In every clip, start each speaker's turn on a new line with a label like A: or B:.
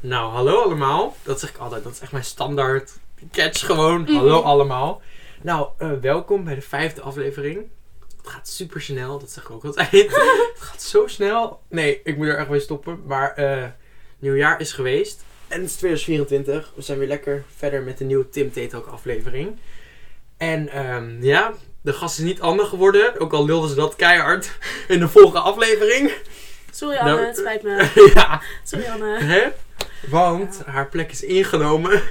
A: Nou, hallo allemaal. Dat zeg ik altijd. Dat is echt mijn standaard catch gewoon. Hallo allemaal. Nou, eh, welkom bij de vijfde aflevering. Het gaat super snel. Dat zeg ik ook altijd. het gaat zo snel. Nee, ik moet er echt mee stoppen. Maar eh, nieuwjaar is geweest. En het is 2024. We zijn weer lekker verder met de nieuwe Tim Tate ook aflevering. En ehm, ja, de gast is niet Anne geworden. Ook al lulden ze dat keihard in de vorige aflevering.
B: Sorry
A: Nou,
B: Anne, het spijt me.
A: ja.
B: Sorry Anne.
A: Hè? Want haar plek is ingenomen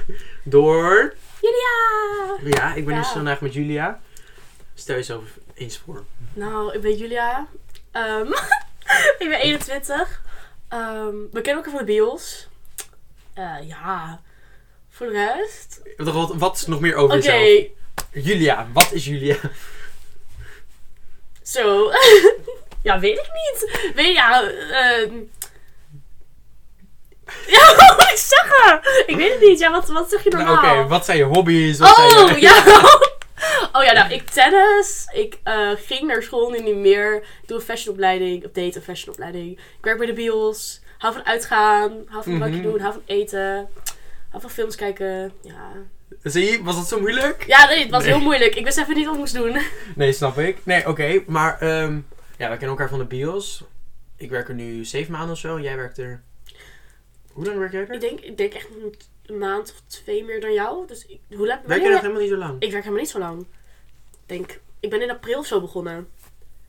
A: door.
B: Julia!
A: Ja, ik ben
B: Ja.
A: dus vandaag met Julia. Stel jezelf eens voor.
B: Nou, ik ben Julia. Ehm, ik ben 21. Ehm, we kennen elkaar van de bios. Eh, ja. Voor de rest.
A: Wat, wat is nog meer over
B: Oké,
A: jezelf? Julia, wat is Julia?
B: zo. ja, weet ik niet. Weet ja, ehm. Ja, wat moet ik zeggen? Ik weet het niet. Ja, wat, wat zeg je
A: Nou,
B: normaal?
A: Oké, wat zijn je hobby's? Wat zijn
B: Oh,
A: je-
B: ja. Oh ja, nou, ik tennis. Ik eh, ging naar school, nu niet meer. Ik doe een fashionopleiding, update een fashionopleiding. Ik werk bij de bios. Hou van uitgaan. Hou van wat je
A: Mhm.
B: doen. Hou van eten. Hou van films kijken. Ja,
A: Zie je, was dat zo moeilijk?
B: ja nee, het was
A: Nee.
B: heel moeilijk. Ik wist even niet wat ik moest doen.
A: Nee, snap ik. Nee, oké, maar ehm, ja, we kennen elkaar van de bios. Ik werk er nu zeven maanden of zo. Jij werkt er. Hoe lang werk jij
B: Ik
A: er?
B: denk, ik denk echt een- een maand of twee meer dan jou. Dus ik, hoe laat
A: Werk
B: wanneer-
A: jij nog helemaal niet zo lang?
B: Ik werk helemaal niet zo lang. Ik denk, ik ben in april of zo begonnen.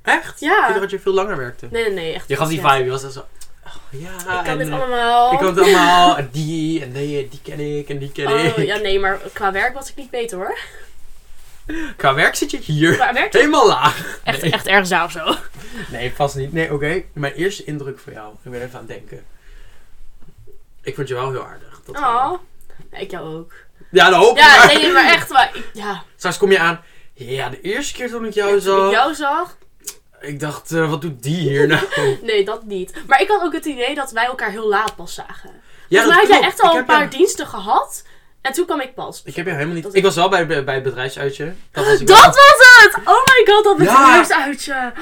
A: Echt? Ik dacht
B: Ja.
A: dat je veel langer werkte.
B: Nee, nee, nee. Echt
A: Je gaf die
B: net.
A: vibe, je was echt zo. oh, ja,
B: Ik kan
A: en,
B: dit
A: eh,
B: allemaal.
A: Ik kan het allemaal. En die, en die, die ken ik, en die ken ik.
B: Oh, ja, nee, maar qua werk was ik niet beter hoor.
A: Qua werk zit je hier.
B: Qua werk
A: Helemaal laag.
B: echt,
A: Nee.
B: echt ergens daar of zo.
A: Nee, vast niet. Nee, oké. Mijn eerste indruk van jou. Ik ben even aan het denken. Ik vond je wel heel aardig. Dat wel.
B: Oh. Ja, ik jou ook.
A: Ja, dat hoop ik
B: Ja,
A: maar.
B: nee, maar echt waar. Ik- ja,
A: Straks kom je aan. Ja, de eerste keer toen ik jou
B: toen
A: zag.
B: ik jou zag.
A: Ik dacht, eh, wat doet die hier nou?
B: Nee, dat niet. Maar ik had ook het idee dat wij elkaar heel laat pas zagen.
A: Ja,
B: Volgens mij had jij
A: klopt.
B: echt al
A: Ik
B: een
A: heb
B: paar
A: jou-
B: diensten gehad. En toen kwam ik pas.
A: Ik heb jou helemaal niet...
B: Dat-
A: Ik was wel bij, bij het bedrijfsuitje. Dat was ik
B: Dat
A: wel.
B: was het! Oh my god, dat
A: Ja.
B: bedrijfsuitje.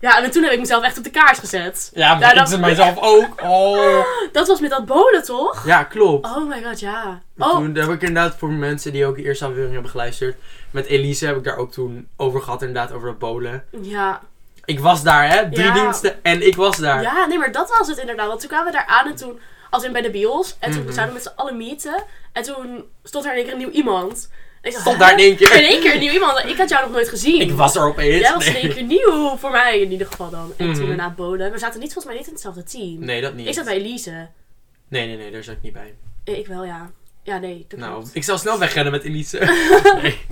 B: Ja, en toen heb ik mezelf echt op de kaart gezet.
A: Ja, maar
B: Ja,
A: ik
B: dat-
A: zit mijzelf ook. Oh.
B: Dat was met dat bolen, toch?
A: Ja, klopt.
B: Oh my god, ja.
A: En
B: Oh,
A: Toen heb ik inderdaad voor mensen die ook de eerste aflevering hebben geluisterd. Met Elise heb ik daar ook toen over gehad, inderdaad, over dat bolen.
B: ja.
A: Ik was daar, hè? Drie
B: Ja.
A: diensten en ik was daar.
B: Ja, nee, maar dat was het inderdaad. Want toen kwamen we daar aan en toen, als in bij de bios, en toen
A: Mhm.
B: zouden we met z'n allen meeten. En toen stond er in één keer een nieuw iemand. En ik dacht,
A: Stond
B: "Hè?
A: daar in één keer.
B: In één keer een nieuw iemand. Ik had jou nog nooit gezien.
A: Ik was er opeens.
B: Jij was in
A: nee.
B: één keer nieuw, voor mij in ieder geval dan. En
A: Mhm.
B: toen daarna Bolen. We zaten niet, volgens mij niet in hetzelfde team.
A: nee, dat niet.
B: Ik zat bij Elise.
A: Nee, nee, nee, daar zat ik niet bij.
B: Eh, Ik wel, ja. Ja, nee, dat
A: Nou,
B: klopt.
A: ik zou snel wegrennen met Elise. nee.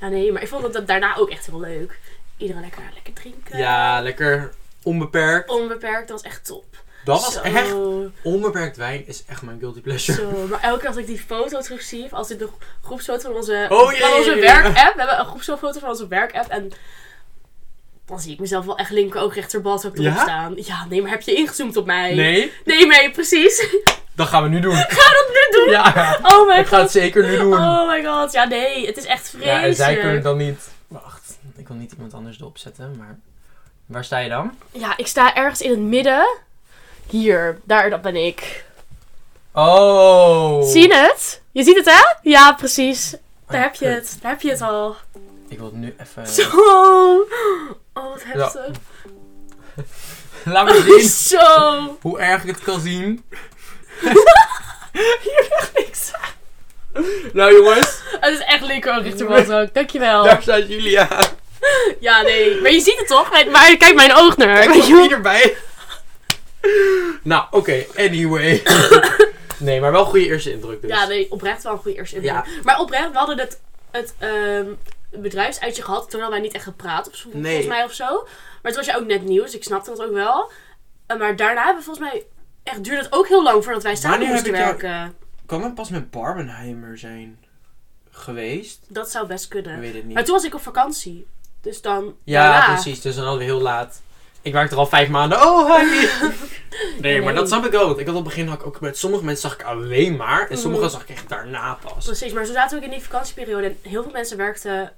B: Ja, nee, maar ik vond dat, dat daarna ook echt heel leuk. Iedereen lekker, lekker drinken.
A: Ja, lekker onbeperkt.
B: Onbeperkt, dat was echt top.
A: Dat was
B: Zo.
A: echt. Onbeperkt wijn is echt mijn guilty pleasure.
B: Zo, maar elke keer als ik die foto terugzie, als ik de groepsfoto van onze,
A: Oh, ja,
B: van onze
A: ja, ja, ja.
B: werkapp, we hebben een groepsfoto van onze werkapp en dan zie ik mezelf wel echt linker ook rechterbal ook
A: Ja?
B: ja? staan. Ja, nee, maar heb je ingezoomd op mij?
A: Nee,
B: Nee, nee, precies.
A: dat gaan we nu doen.
B: Ga dat nu doen?
A: Ja,
B: Oh my
A: ik ga het
B: god.
A: zeker nu doen.
B: Oh my god. Ja, nee, het is echt
A: ja, en
B: vreselijk.
A: zij kunnen dan niet. Wacht, ik wil niet iemand anders erop zetten, maar. Waar sta je dan?
B: Ja, ik sta ergens in het midden. Hier, daar dat ben ik.
A: Oh!
B: Zie je nou? het? Je ziet het, hè? Ja, precies. Daar heb je het. Daar heb je het al.
A: Ik wil het nu even.
B: Zo. Oh,
A: Eh.
B: wat heftig.
A: Laat me zien
B: Zo.
A: hoe erg ik het kan zien. Nou jongens,
B: Het is echt linker richterband ook. Dankjewel.
A: daar staat Julia.
B: Ja, nee. Maar je ziet het toch? Mijn- Maar kijk mijn oog naar.
A: Ik was niet erbij. nou, oké, anyway. nee, maar wel goede eerste indruk dus.
B: Ja, nee. Oprecht wel een goede eerste indruk. Maar oprecht, we hadden het, het ehm, bedrijfsuitje gehad. Toen hadden wij niet echt gepraat. Of, zo-
A: Nee.
B: Volgens mij of zo. Maar toen was je ook net nieuw. Dus ik snapte dat ook wel. Eh, maar daarna hebben we volgens mij... Echt duurde het ook heel lang voordat wij samen
A: Wanneer heb
B: moesten
A: ik jou-
B: werken.
A: Kan het pas met Barbenheimer zijn geweest?
B: Dat zou best
A: Ik
B: kunnen.
A: weet het
B: Maar
A: niet.
B: toen was ik op vakantie. Dus dan...
A: Ja,
B: daarna.
A: precies, dus dan hadden we heel laat. Ik werkte er al vijf maanden. Oh, hi! nee, maar
B: Nee.
A: dat snap ik ook. want Ik had op het begin had ik ook met sommige mensen zag ik alleen maar. En sommige
B: Mhm.
A: zag ik echt daarna pas.
B: Precies, maar zo zaten we ook in die vakantieperiode. En heel veel mensen werkten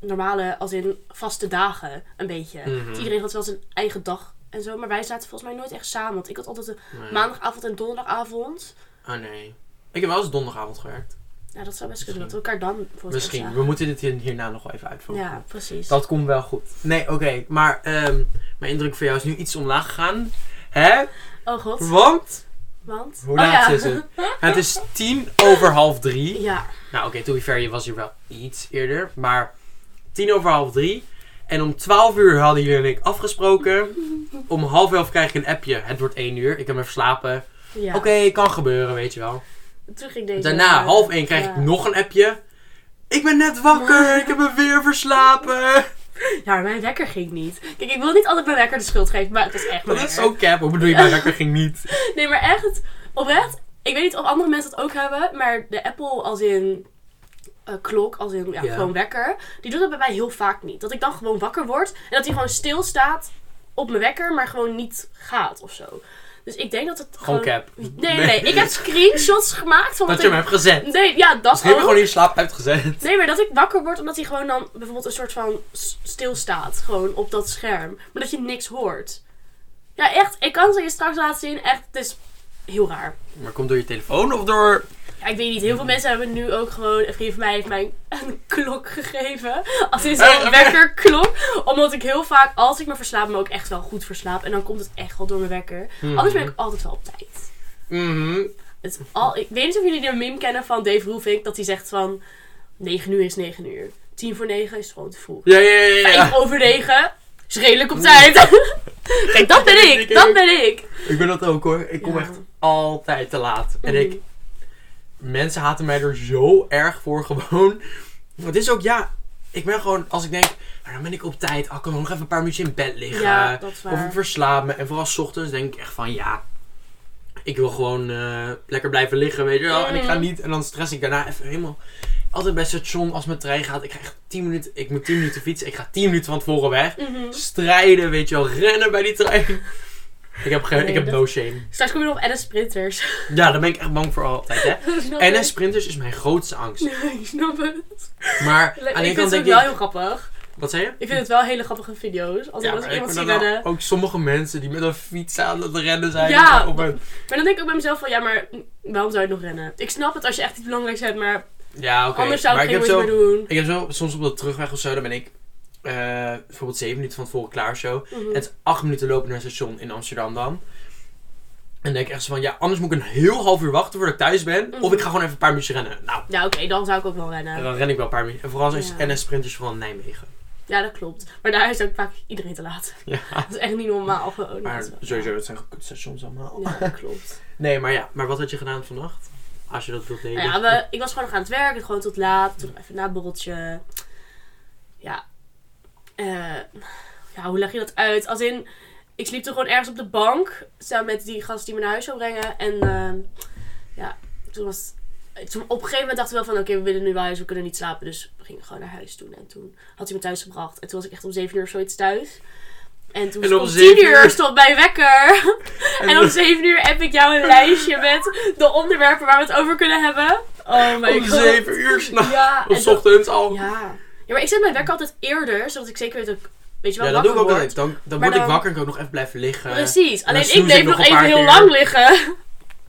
B: normale, als in vaste dagen, een beetje.
A: Mhm.
B: Dus iedereen had wel zijn eigen dag en zo. Maar wij zaten volgens mij nooit echt samen. Want ik had altijd een
A: Nee.
B: maandagavond en donderdagavond.
A: Oh nee. Ik heb wel eens donderdagavond gewerkt.
B: Ja, dat zou best kunnen. Dat we elkaar dan bijvoorbeeld
A: Misschien. We
B: opzagen.
A: moeten dit hier- hierna nog wel even uitvoeren.
B: Ja, precies.
A: Dat komt wel goed. Nee, oké. Maar ehm, mijn indruk van jou is nu iets omlaag gegaan. Hè?
B: Oh god,
A: Want...
B: want...
A: Hoe
B: Oh,
A: laat
B: ja.
A: is het? Het is tien over half drie.
B: Ja,
A: Nou, oké, toen to be fair, je was hier wel iets eerder. Maar tien over half drie. En om twaalf uur hadden jullie en ik afgesproken. Om half elf krijg ik een appje. Het wordt één uur. Ik heb even slapen.
B: ja.
A: Oké, kan gebeuren, weet je wel.
B: Toen ging deze...
A: Daarna, half één, krijg
B: ja.
A: ik nog een appje. Ik ben net wakker. Ik heb me weer verslapen.
B: Ja, maar mijn wekker ging niet. Kijk, ik wil niet altijd mijn wekker de schuld geven, maar het was echt mijn
A: Dat is
B: wekker.
A: ook cap. Hoe bedoel je, mijn wekker ging niet.
B: Nee, maar echt, oprecht. Ik weet niet of andere mensen dat ook hebben, maar de Apple als in eh, klok, als in ja,
A: Ja.
B: gewoon wekker, die doet dat bij mij heel vaak niet. Dat ik dan gewoon wakker word en dat die gewoon stilstaat op mijn wekker, maar gewoon niet gaat of zo. Dus ik denk dat het
A: Gewoon
B: gewoon...
A: cap.
B: Nee, nee, nee. Ik heb screenshots gemaakt van
A: Dat
B: wat
A: je hem
B: ik...
A: hebt gezet.
B: Nee, ja, dat
A: Dus heb je
B: ook.
A: gewoon in je slaap uitgezet.
B: Nee, maar dat ik wakker word omdat hij gewoon dan bijvoorbeeld een soort van s- stilstaat. Gewoon op dat scherm. Maar dat je niks hoort. Ja, echt. Ik kan ze je straks laten zien. Echt, het is heel raar.
A: Maar komt door je telefoon of door...
B: Ja, ik weet niet. Heel veel mensen hebben nu ook gewoon... Een vriend van mij heeft mij een klok gegeven. Als in
A: Eh,
B: zo'n
A: eh.
B: wekkerklok. Omdat ik heel vaak, als ik me verslaap, me ook echt wel goed verslaap. En dan komt het echt wel door mijn wekker. Anders ben ik altijd wel op tijd.
A: Mhm.
B: Het is al, ik weet niet of jullie de meme kennen van Dave Roelvink. Dat hij zegt van... 9 uur is 9 uur. 10 voor 9 is gewoon te vroeg.
A: Ja, ja, ja, ja.
B: Vijf over negen. Is redelijk op tijd. Kijk, dat ben ik. Dat ben ik.
A: Ik ben dat ook hoor. Ik kom
B: Ja.
A: echt altijd te laat. En ik...
B: Mhm. Mm.
A: Mensen haten mij er zo erg voor gewoon. Maar het is ook, ja... Ik ben gewoon, als ik denk... Maar dan ben ik op tijd. Ah, ik kan nog even een paar minuutjes in bed liggen.
B: Ja, dat is
A: of ik
B: waar.
A: verslaap me. En vooral 's ochtends denk ik echt van, ja... Ik wil gewoon eh, lekker blijven liggen, weet je wel. En ik ga
B: Mhm.
A: niet... En dan stress ik daarna even helemaal... Altijd bij het station, als mijn trein gaat, ik ga echt 10 minuten... Ik moet 10 minuten fietsen. Ik ga 10 minuten van tevoren weg.
B: Mhm.
A: strijden, weet je wel, rennen bij die trein. Ik heb, geen,
B: Nee,
A: ik heb
B: dat-
A: no shame.
B: Straks kom je nog op NS Sprinters.
A: Ja, daar ben ik echt bang voor altijd, hè.
B: Snap
A: En
B: ik.
A: een sprinters is mijn grootste angst.
B: Nee, ik snap het.
A: Maar
B: Le-
A: aan de ene
B: ik
A: kant
B: vind het ook
A: denk
B: wel
A: ik...
B: heel grappig.
A: Wat zei je?
B: Ik vind het wel hele grappige video's. Als ik
A: Ja,
B: als
A: maar
B: ik
A: ik
B: iemand
A: ben
B: zie
A: dan wel-
B: rennen.
A: ook sommige mensen die met een fiets aan het rennen zijn.
B: Ja,
A: en op een-
B: Maar dan denk ik ook bij mezelf van, ja, maar waarom zou je nog rennen? Ik snap het als je echt iets belangrijks hebt, maar
A: ja oké.
B: anders zou
A: Maar
B: ik
A: ik
B: geen
A: heb
B: moeite
A: zo...
B: meer doen.
A: Ik heb zo soms op de terugweg of zo, dan ben ik eh, bijvoorbeeld 7 minuten van tevoren klaar of zo.
B: Mhm.
A: Het is 8 minuten lopen naar het station in Amsterdam dan. En dan denk ik echt zo van, ja, anders moet ik een heel half uur wachten voordat ik thuis ben. Of
B: Mhm.
A: ik ga gewoon even een paar minuutjes rennen. Nou,
B: Ja, oké, dan zou ik ook wel rennen.
A: En dan ren ik wel een paar minuten. En vooral als
B: Ja.
A: NS-sprinters van Nijmegen.
B: Ja, dat klopt. Maar daar is ook vaak iedereen te laat.
A: Ja.
B: Dat is echt niet normaal gewoon.
A: Maar
B: Dat is wel-
A: sowieso, het zijn goed stations allemaal.
B: Ja, dat klopt.
A: Nee, maar ja. Maar wat had je gedaan vannacht? Als je dat wilt delen.
B: Nou ja, we, ik was gewoon nog aan het werken, gewoon tot laat. Toen nog even na het borreltje. Ja. Eh, ja, hoe leg je dat uit? Als in, ik sliep toen gewoon ergens op de bank. Samen met die gast die me naar huis zou brengen. En ehm, ja, toen was... Toen op een gegeven moment dachten we wel van, oké, we willen nu wel huis, we kunnen niet slapen. Dus we gingen gewoon naar huis toen. En toen had hij me thuis gebracht. En toen was ik echt om 7 uur of zoiets thuis. En toen
A: En om
B: stond 10
A: zeven
B: uur
A: uur-
B: stond mijn wekker. En om 7 uur heb ik jou een lijstje met de onderwerpen waar we het over kunnen hebben. Oh my
A: Om
B: god.
A: zeven uur s'nachts.
B: Ja, en
A: Of 's ochtends al.
B: dan- ja. ja, maar ik zet mijn wekker altijd eerder, zodat ik zeker weet dat ik, weet je wel,
A: Ja, dat doe ik ook
B: wakker word.
A: altijd. Dan, dan
B: Maar
A: word ik
B: dan-
A: wakker en kan ik ook nog even blijven liggen.
B: Precies.
A: dan
B: Alleen ik
A: snoes ik
B: bleef
A: nog
B: nog
A: een
B: even
A: paar
B: heel
A: keer.
B: lang liggen.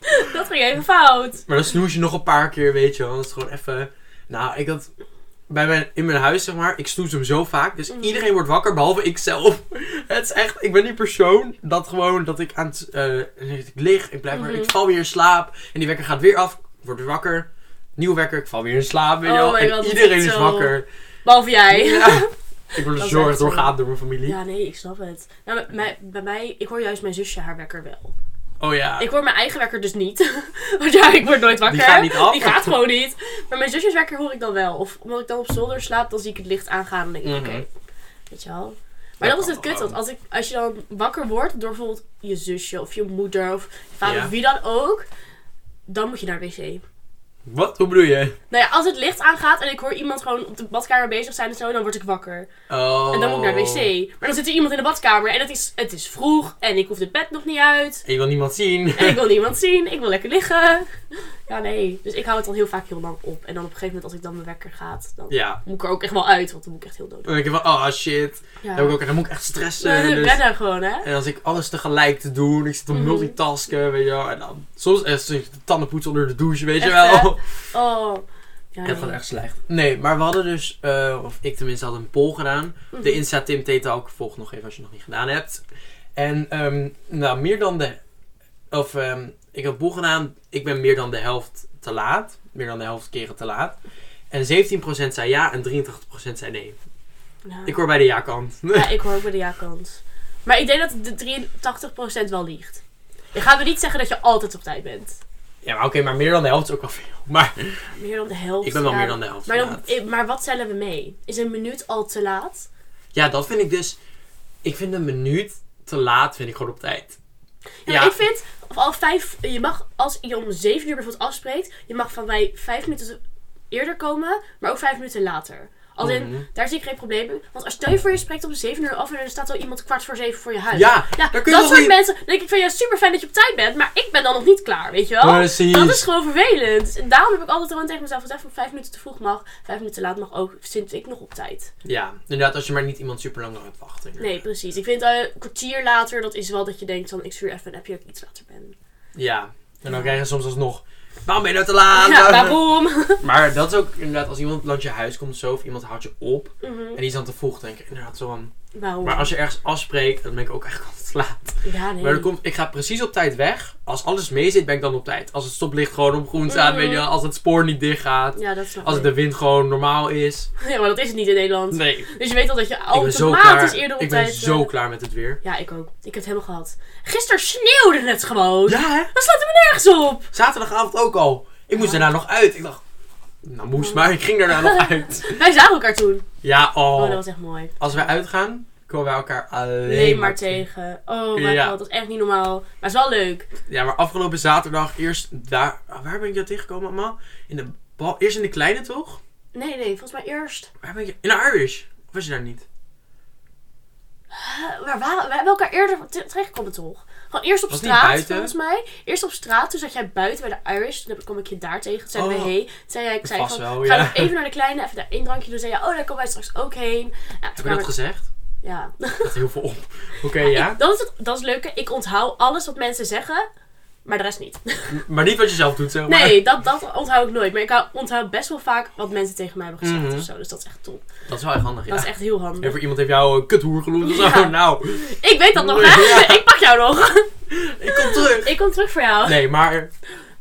B: dat ging even fout.
A: Maar dan snoes je nog een paar keer, weet je wel. Dan is het gewoon even... Nou, ik had... Bij mijn, in mijn huis, zeg maar, ik snoes hem zo vaak. Dus
B: Mhm.
A: iedereen wordt wakker, behalve ikzelf. Het is echt, ik ben die persoon dat gewoon, dat ik aan het, eh, ik lig, ik blijf maar,
B: Mhm.
A: ik val weer in slaap. En die wekker gaat weer af, ik word weer wakker. Nieuw wekker, ik val weer in slaap, weet je
B: Oh
A: wel.
B: my
A: En
B: God, dat is
A: iedereen
B: echt
A: is
B: zo.
A: wakker.
B: Behalve jij.
A: Ja. Ik word
B: Dat is
A: zo erg
B: echt zo.
A: doorgaan door mijn familie.
B: Ja, nee, ik snap het. Nou, bij, mij- bij mij, ik hoor juist mijn zusje haar wekker wel.
A: Oh ja.
B: Ik hoor mijn eigen wekker dus niet. Want ja, ik word nooit wakker.
A: gaat niet af.
B: Die gaat gewoon niet. Maar mijn zusjes wekker hoor ik dan wel. Of omdat ik dan op zolder slaap, dan zie ik het licht aangaan. En denk ik,
A: Mhm.
B: oké. Weet je wel. Maar
A: Dat
B: dat is het
A: kan
B: kut.
A: gewoon.
B: Want als, ik, als je dan wakker wordt door bijvoorbeeld je zusje of je moeder of je vader
A: Ja.
B: of wie dan ook. Dan moet je naar de wc.
A: Wat? Hoe bedoel je?
B: Nou ja, als het licht aangaat en ik hoor iemand gewoon op de badkamer bezig zijn en zo, dan word ik wakker.
A: Oh.
B: En dan moet ik naar de wc. Maar dan zit er iemand in de badkamer en het is, het is vroeg en ik hoef de bed nog niet uit.
A: En je wil niemand zien.
B: En ik wil niemand zien, ik wil lekker liggen. Ja, nee. Dus ik hou het dan heel vaak heel lang op. En dan op een gegeven moment, als ik dan mijn wekker gaat, dan
A: Ja.
B: moet ik er ook echt wel uit, want dan moet ik echt heel dood
A: Dan denk ik van, oh shit.
B: Ja.
A: Dan, heb ik ook, dan moet ik echt stressen.
B: Nee,
A: dus-
B: ben daar gewoon, hè?
A: En dan zit ik alles tegelijk te doen. Ik zit te
B: Mhm.
A: multitasken, weet je wel. En dan soms eh, soms de tanden poetsen onder de douche, weet je
B: Echt,
A: wel.
B: Oh. Ja,
A: Dat gaat echt slecht. Nee, maar we hadden dus, eh, of ik tenminste had een poll gedaan.
B: Mhm.
A: De Insta Tim Teta ook, volg nog even als je het nog niet gedaan hebt. En ehm, nou, meer dan de, of ehm, ik heb een poll gedaan. Ik ben meer dan de helft te laat. Meer dan de helft keren te laat. En 17% zei ja en 83% zei nee.
B: Ja.
A: Ik hoor bij de ja-kant.
B: Ja, ik hoor ook bij de ja-kant. Maar ik denk dat de 83% wel liegt. Je gaat me niet zeggen dat je altijd op tijd bent.
A: Ja, maar oké, maar meer dan de helft is ook wel veel. Maar
B: Ja, Meer dan de helft.
A: ik ben wel
B: ja.
A: meer dan de helft te
B: Maar,
A: laat.
B: dan, eh, maar wat tellen we mee? Is een minuut al te laat?
A: Ja, dat vind ik dus. Ik vind een minuut te laat, vind ik gewoon op tijd.
B: Ja, maar Nou, Ik vind, of al vijf, je mag, als je om 7 uur bijvoorbeeld afspreekt, je mag van mij vijf minuten eerder komen, maar ook vijf minuten later. Als in,
A: Mhm.
B: daar zie ik geen probleem in. Want als stel je voor je spreekt om 7 uur af en er staat al iemand kwart voor zeven voor je huis.
A: Ja,
B: Ja,
A: daar
B: dat
A: kun je
B: soort
A: toch niet...
B: mensen. Dan denk ik van ja, super fijn dat je op tijd bent, maar ik ben dan nog niet klaar, weet je wel?
A: Precies.
B: Oh, Dat is gewoon vervelend. Dus En daarom heb ik altijd gewoon tegen mezelf gezegd: van vijf minuten te vroeg mag, vijf minuten te laat mag ook, zit ik nog op tijd.
A: Ja, inderdaad, als je maar niet iemand super lang nog hebt wachten.
B: Nee, precies. Ik vind eh, een kwartier later, dat is wel dat je denkt: van ik stuur even een appje dat ik iets later ben.
A: Ja, en dan krijg je soms alsnog. Waarom ben je nou te laat?
B: ja, waarom?
A: Maar dat is ook inderdaad, als iemand langs je huis komt zo, of iemand houdt je op
B: Mhm.
A: en die is dan te vroeg, denk ik inderdaad zo van.
B: waarom?
A: Maar als je ergens afspreekt, dan ben ik ook echt altijd te laat.
B: ja, nee.
A: Maar dan komt, ik ga precies op tijd weg. Als alles mee zit, ben ik dan op tijd. Als het stoplicht gewoon op groen staat,
B: Mhm.
A: weet je wel, als het spoor niet dicht gaat,
B: Ja, dat snap
A: als
B: ik.
A: de wind gewoon normaal is.
B: Ja, maar dat is het niet in Nederland.
A: Nee,
B: Dus je weet al dat je
A: ik ben zo
B: automatisch
A: klaar.
B: eerder op
A: ik ben
B: tijd
A: zo
B: eh,
A: klaar met het weer.
B: Ja, ik ook. Ik heb het helemaal gehad. Gisteren sneeuwde het gewoon.
A: Ja, hè?
B: Dat slaat er me nergens op.
A: Zaterdagavond ook al. Ik moest
B: Ja.
A: daarna nog uit. Ik dacht, nou moest maar. Ik ging daarna nog uit.
B: Wij zagen elkaar toen.
A: Ja,
B: Oh,
A: oh.
B: dat was echt mooi.
A: Als wij uitgaan, komen wij elkaar alleen
B: Nee, maar tegen. Oh my
A: Ja.
B: god, dat is echt niet normaal. Maar het is wel leuk.
A: Ja, maar afgelopen zaterdag eerst daar... ah, Waar ben ik jou tegengekomen, mama? In de bal... Eerst in de kleine, toch?
B: Nee, nee, volgens mij eerst.
A: Waar ben je... In de Irish. Of was je daar niet?
B: Eh, waar waren, we hebben elkaar eerder te- tegengekomen toch? Gewoon eerst op
A: Was het niet
B: straat,
A: buiten?
B: volgens mij. Eerst op straat, toen zat jij buiten bij de Irish. Toen heb- kwam ik je daar tegen. Toen zeiden
A: Oh.
B: we hey. Toen zei jij, ik zei
A: Vast
B: van,
A: wel,
B: ga
A: Oh, ja.
B: nog even naar de kleine, even daar één drankje doen. Toen zei je, oh, daar komen wij straks ook heen. Ja,
A: Heb
B: toen
A: je dat
B: kwamen-
A: gezegd?
B: ja.
A: Dat heel veel op. Oké, ja.
B: Ik- dat, is het, dat is het leuke. Ik onthoud alles wat mensen zeggen, maar de rest niet.
A: Maar niet wat je zelf doet, zeg maar.
B: Nee, dat, dat onthoud ik nooit. Maar ik hou- onthoud best wel vaak wat mensen tegen mij hebben gezegd
A: Mhm.
B: of zo. Dus dat is echt top.
A: Dat is wel echt handig, ja.
B: Dat is echt heel
A: En
B: handig.
A: voor iemand heeft jou een kuthoer genoemd of zo.
B: Ja.
A: Nou,
B: Ik weet dat nog, hè?
A: Ja.
B: Ik pak jou nog.
A: ik kom terug.
B: Ik kom terug voor jou.
A: Nee, maar...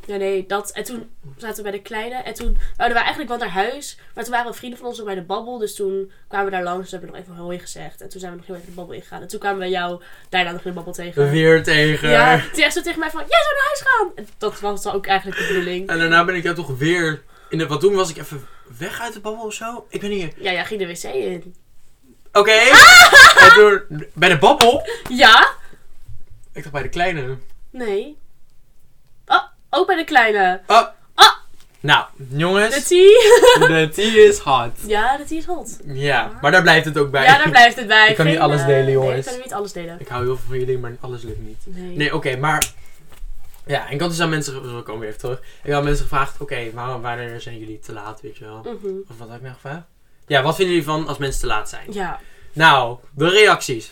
B: Nee, nee, dat. En toen zaten we bij de kleine. En toen wouden we eigenlijk wel naar huis. Maar toen waren vrienden van ons nog bij de babbel. Dus toen kwamen we daar langs. Toen hebben we nog even hoi gezegd. En toen zijn we nog heel even de babbel ingegaan. En toen kwamen we jou daarna nog in de babbel tegen.
A: Weer tegen.
B: Ja, toen echt zo tegen mij van, jij zou naar huis gaan. En dat was dan ook eigenlijk de bedoeling.
A: En daarna ben ik jou toch weer. In de, wat toen was ik even weg uit de babbel of zo? Ik ben hier.
B: Ja, jij ging de wc in.
A: Oké.
B: Ah!
A: En toen- Bij de babbel?
B: Ja?
A: Ik dacht bij de kleine.
B: Nee. Oh, ook bij de kleine.
A: Oh.
B: Ah.
A: Nou, jongens.
B: De tea?
A: De tea is hot.
B: Ja, de tea is hot.
A: Ja, maar daar blijft het ook bij.
B: Ja, daar blijft het bij.
A: Ik kan niet
B: Geen,
A: alles
B: eh,
A: delen,
B: Nee,
A: jongens.
B: ik kan niet alles delen.
A: Ik hou heel veel van jullie, maar alles lukt niet.
B: Nee.
A: Nee, oké, maar. Ja, en ik had dus aan mensen. ge- We komen weer even terug. Ik had aan mensen gevraagd: oké, waarom, wanneer zijn jullie te laat, weet je wel?
B: Mhm.
A: Of wat had ik nou gevraagd? Ja, wat vinden jullie van als mensen te laat zijn?
B: Ja.
A: Nou, de reacties.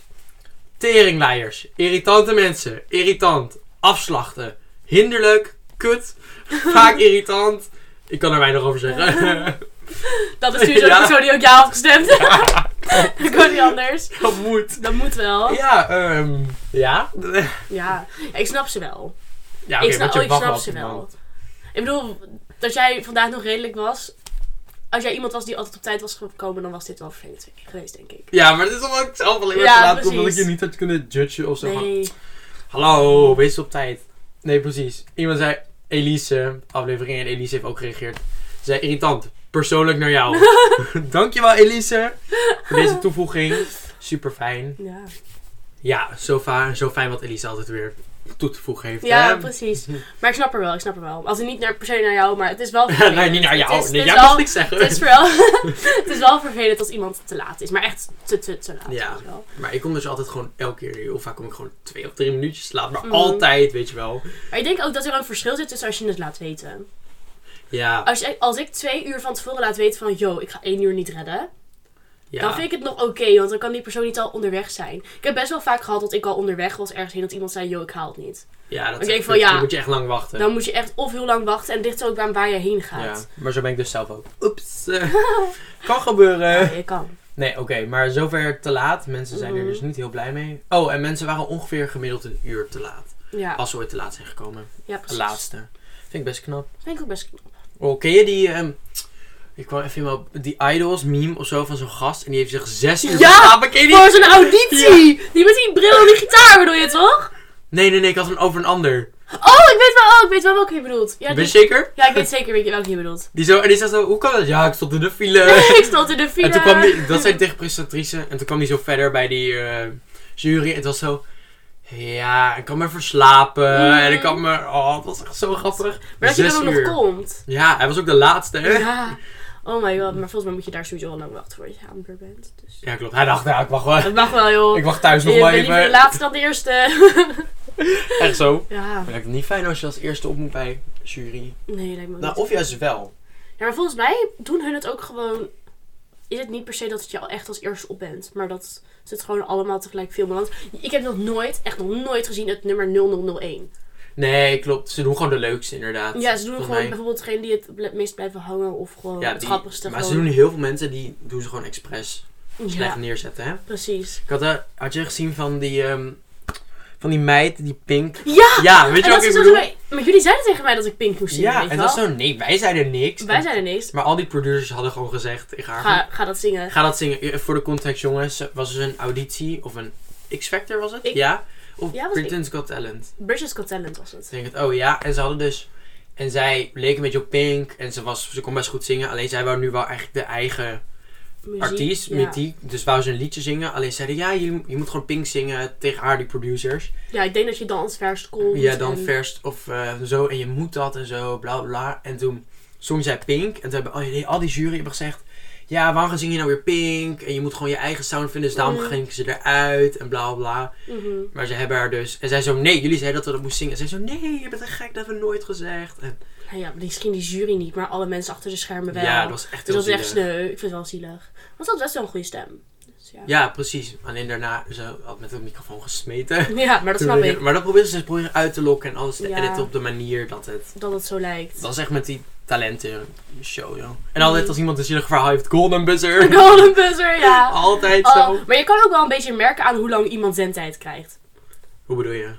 A: Teringleiers, irritante mensen, irritant, afslachten, hinderlijk, kut, vaak irritant. Ik kan er weinig over zeggen.
B: Dat is natuurlijk
A: Ja.
B: zo'n persoon die ook ja had gestemd. ik kon niet anders.
A: Dat moet.
B: Dat moet wel. Ja.
A: Ja, ehm ja.
B: Ja, Ik snap ze wel.
A: Ja,
B: ik snap,
A: want je
B: oh, ik
A: wacht
B: snap
A: op
B: ze wel.
A: iemand.
B: Ik bedoel, dat jij vandaag nog redelijk was. Als jij iemand was die altijd op tijd was gekomen, dan was dit wel vervelend geweest, denk ik.
A: Ja, maar het is omdat ik zelf alleen maar
B: Ja,
A: te laat kom, omdat ik
B: precies.
A: je niet had kunnen judgen of zo.
B: Nee.
A: Hallo, wees op tijd. Nee, precies. Iemand zei Elise, aflevering en Elise heeft ook gereageerd. Ze zei irritant, persoonlijk naar jou. Dankjewel Elise voor deze toevoeging. Super fijn.
B: Ja.
A: Ja, zo, fa- zo fijn wat Elise altijd weer. toe te voegen heeft.
B: Ja,
A: hè?
B: precies. Maar ik snap er wel, ik snap er wel. Als in niet naar, per se naar jou, maar het is wel vervelend.
A: nee, niet naar jou.
B: Het is,
A: nee,
B: het is
A: jij mag
B: wel,
A: niks zeggen.
B: het, is wel, het is wel vervelend als iemand te laat is. Maar echt te, te, te laat.
A: Ja.
B: weet je wel.
A: Maar ik kom dus altijd gewoon elke keer, heel vaak kom ik gewoon twee of drie minuutjes te laat. Maar
B: Mhm.
A: altijd, weet je wel.
B: Maar ik denk ook dat er een verschil zit tussen als je het laat weten.
A: Ja,
B: Als, je, als ik twee uur van tevoren laat weten van... Yo, ik ga één uur niet redden.
A: ja.
B: Dan vind ik het nog oké, want dan kan die persoon niet al onderweg zijn. Ik heb best wel vaak gehad dat ik al onderweg was ergens heen... dat iemand zei, yo, ik haal het niet.
A: ja, dat
B: ik
A: is
B: denk
A: echt
B: van,
A: kut.
B: ja.
A: Dan moet je echt lang wachten.
B: Dan moet je echt of heel lang wachten... en het ligt er ook aan waar je heen gaat.
A: Ja, maar zo ben ik dus zelf ook. Oeps. eh, kan gebeuren.
B: Ja, je kan.
A: Nee, oké, maar zover te laat. Mensen zijn er
B: Mhm.
A: dus niet heel blij mee. Oh, en mensen waren ongeveer gemiddeld een uur te laat.
B: Ja,
A: Als ze ooit te laat zijn gekomen.
B: ja
A: De
B: precies.
A: laatste. Vind ik best knap.
B: Vind ik ook best
A: Oh, ken je die... ehm, ik kwam even in mijn op die Idols meme of zo van zo'n gast. En die heeft zich zes uur
B: Ja!
A: geslapen. Ken je die?
B: Voor Oh, zo'n auditie! Die met die bril en die gitaar bedoel je toch?
A: Nee, nee, nee. Ik had het over een ander.
B: Oh, ik weet wel, oh, ik weet wel welke je bedoelt. Ja,
A: ben je
B: die-
A: zeker?
B: ja, ik weet zeker wie- welke je bedoelt.
A: Die, zo, en die zei zo... Hoe kan dat? Ja, ik stond in de file.
B: ik stond in de file.
A: En toen kwam die, dat zei tegen presentatrice, en toen kwam hij zo verder bij die eh, jury. En het was zo, ja, ik kan me verslapen.
B: Mm.
A: En ik kan me, oh, het was echt zo grappig.
B: Maar dat je
A: Zes
B: dan ook nog
A: uur.
B: komt.
A: Ja, hij was ook de laatste, hè? Ja,
B: Ja. Oh my god, maar volgens mij moet je daar sowieso al lang wachten voordat je aan de beurt bent. Dus.
A: klopt. Hij dacht, ja, ik wacht wel.
B: Dat mag wel, joh.
A: Ik wacht thuis nog
B: je
A: maar
B: bent liever Eh, de
A: even.
B: laatste dan de eerste.
A: Echt zo.
B: ja,
A: Maar lijkt het niet fijn als je als eerste op moet bij jury.
B: nee, lijkt me ook
A: Nou,
B: niet.
A: of juist wel.
B: Ja, maar volgens mij doen hun het ook gewoon... Is het niet per se dat het je al echt als eerste op bent. Maar dat ze het gewoon allemaal tegelijk filmen. Want ik heb nog nooit, echt nog nooit gezien het nummer 0001.
A: Nee, klopt. Ze doen gewoon de leukste, inderdaad.
B: Ja, ze doen
A: Volgens
B: gewoon
A: mij.
B: bijvoorbeeld degene die het ble- meest blijven hangen. Of gewoon
A: Ja,
B: het
A: die-
B: grappigste.
A: Maar ze
B: gewoon.
A: doen heel veel mensen, die doen ze gewoon expres slecht
B: Ja,
A: neerzetten, hè?
B: precies.
A: Ik had, eh, had je gezien van die, ehm, van die meid, die pink.
B: Ja!
A: Ja, weet
B: Ah, En
A: je
B: dat
A: wat
B: ze
A: ik
B: zo
A: bedoel?
B: zei, maar jullie zeiden tegen mij dat ik pink moest zingen,
A: Ja,
B: weet
A: en
B: je
A: dat is
B: wel?
A: zo, nee, wij zeiden niks.
B: Wij
A: En-
B: zijn ineens,
A: Maar al die producers hadden gewoon gezegd tegen haar, van,
B: ga, ga dat zingen.
A: ga dat zingen. Eh, Voor de context jongens, eh, was dus een auditie of een X-Factor was het?
B: Ik-
A: ja. Of
B: Ja, was
A: Britain's Got Talent.
B: British Got Talent was
A: Ik
B: het.
A: denk het, oh ja. En ze hadden dus, en zij leek een beetje op Pink en ze, was, ze kon best goed zingen. Alleen zij wou nu wel eigenlijk de eigen
B: Muziek,
A: artiest,
B: ja.
A: met die, dus wou ze een liedje zingen. Alleen zeiden, ja, je, je moet gewoon Pink zingen tegen haar, die producers.
B: Ja, ik denk dat je dan als vers komt.
A: Ja, dan
B: en-
A: verst of eh, zo en je moet dat en zo, bla bla, bla. En toen zong zij Pink en toen hebben al die, al die jury hebben gezegd... Ja, waarom zing je nou weer Pink? En je moet gewoon je eigen sound vinden, dus daarom
B: Mm.
A: gingen ze eruit en bla bla.
B: Mhm.
A: Maar ze hebben haar dus... En zij zo, nee, jullie zeiden dat we dat moesten zingen. En zij zo, nee, je bent echt gek, dat hebben we nooit gezegd. En,
B: Nou ja, misschien die jury niet, maar alle mensen achter de schermen wel.
A: ja, dat was echt heel
B: Dus dat is echt
A: zielig.
B: sneu. Ik vind het wel zielig. Want ze had best wel een goede stem. Dus ja.
A: Ja, precies. Alleen daarna, ze had met de microfoon gesmeten.
B: Ja, maar dat snap ik.
A: Maar dat probeerden ze proberen uit te lokken en alles te
B: Ja.
A: editen op de manier dat het...
B: Dat het zo lijkt.
A: Dat is echt met die talenten show, joh. En altijd als iemand een zielig verhaal heeft, golden buzzer.
B: Golden buzzer, ja.
A: altijd
B: Oh,
A: zo.
B: maar je kan ook wel een beetje merken aan hoe lang iemand zendtijd krijgt.
A: Hoe bedoel je?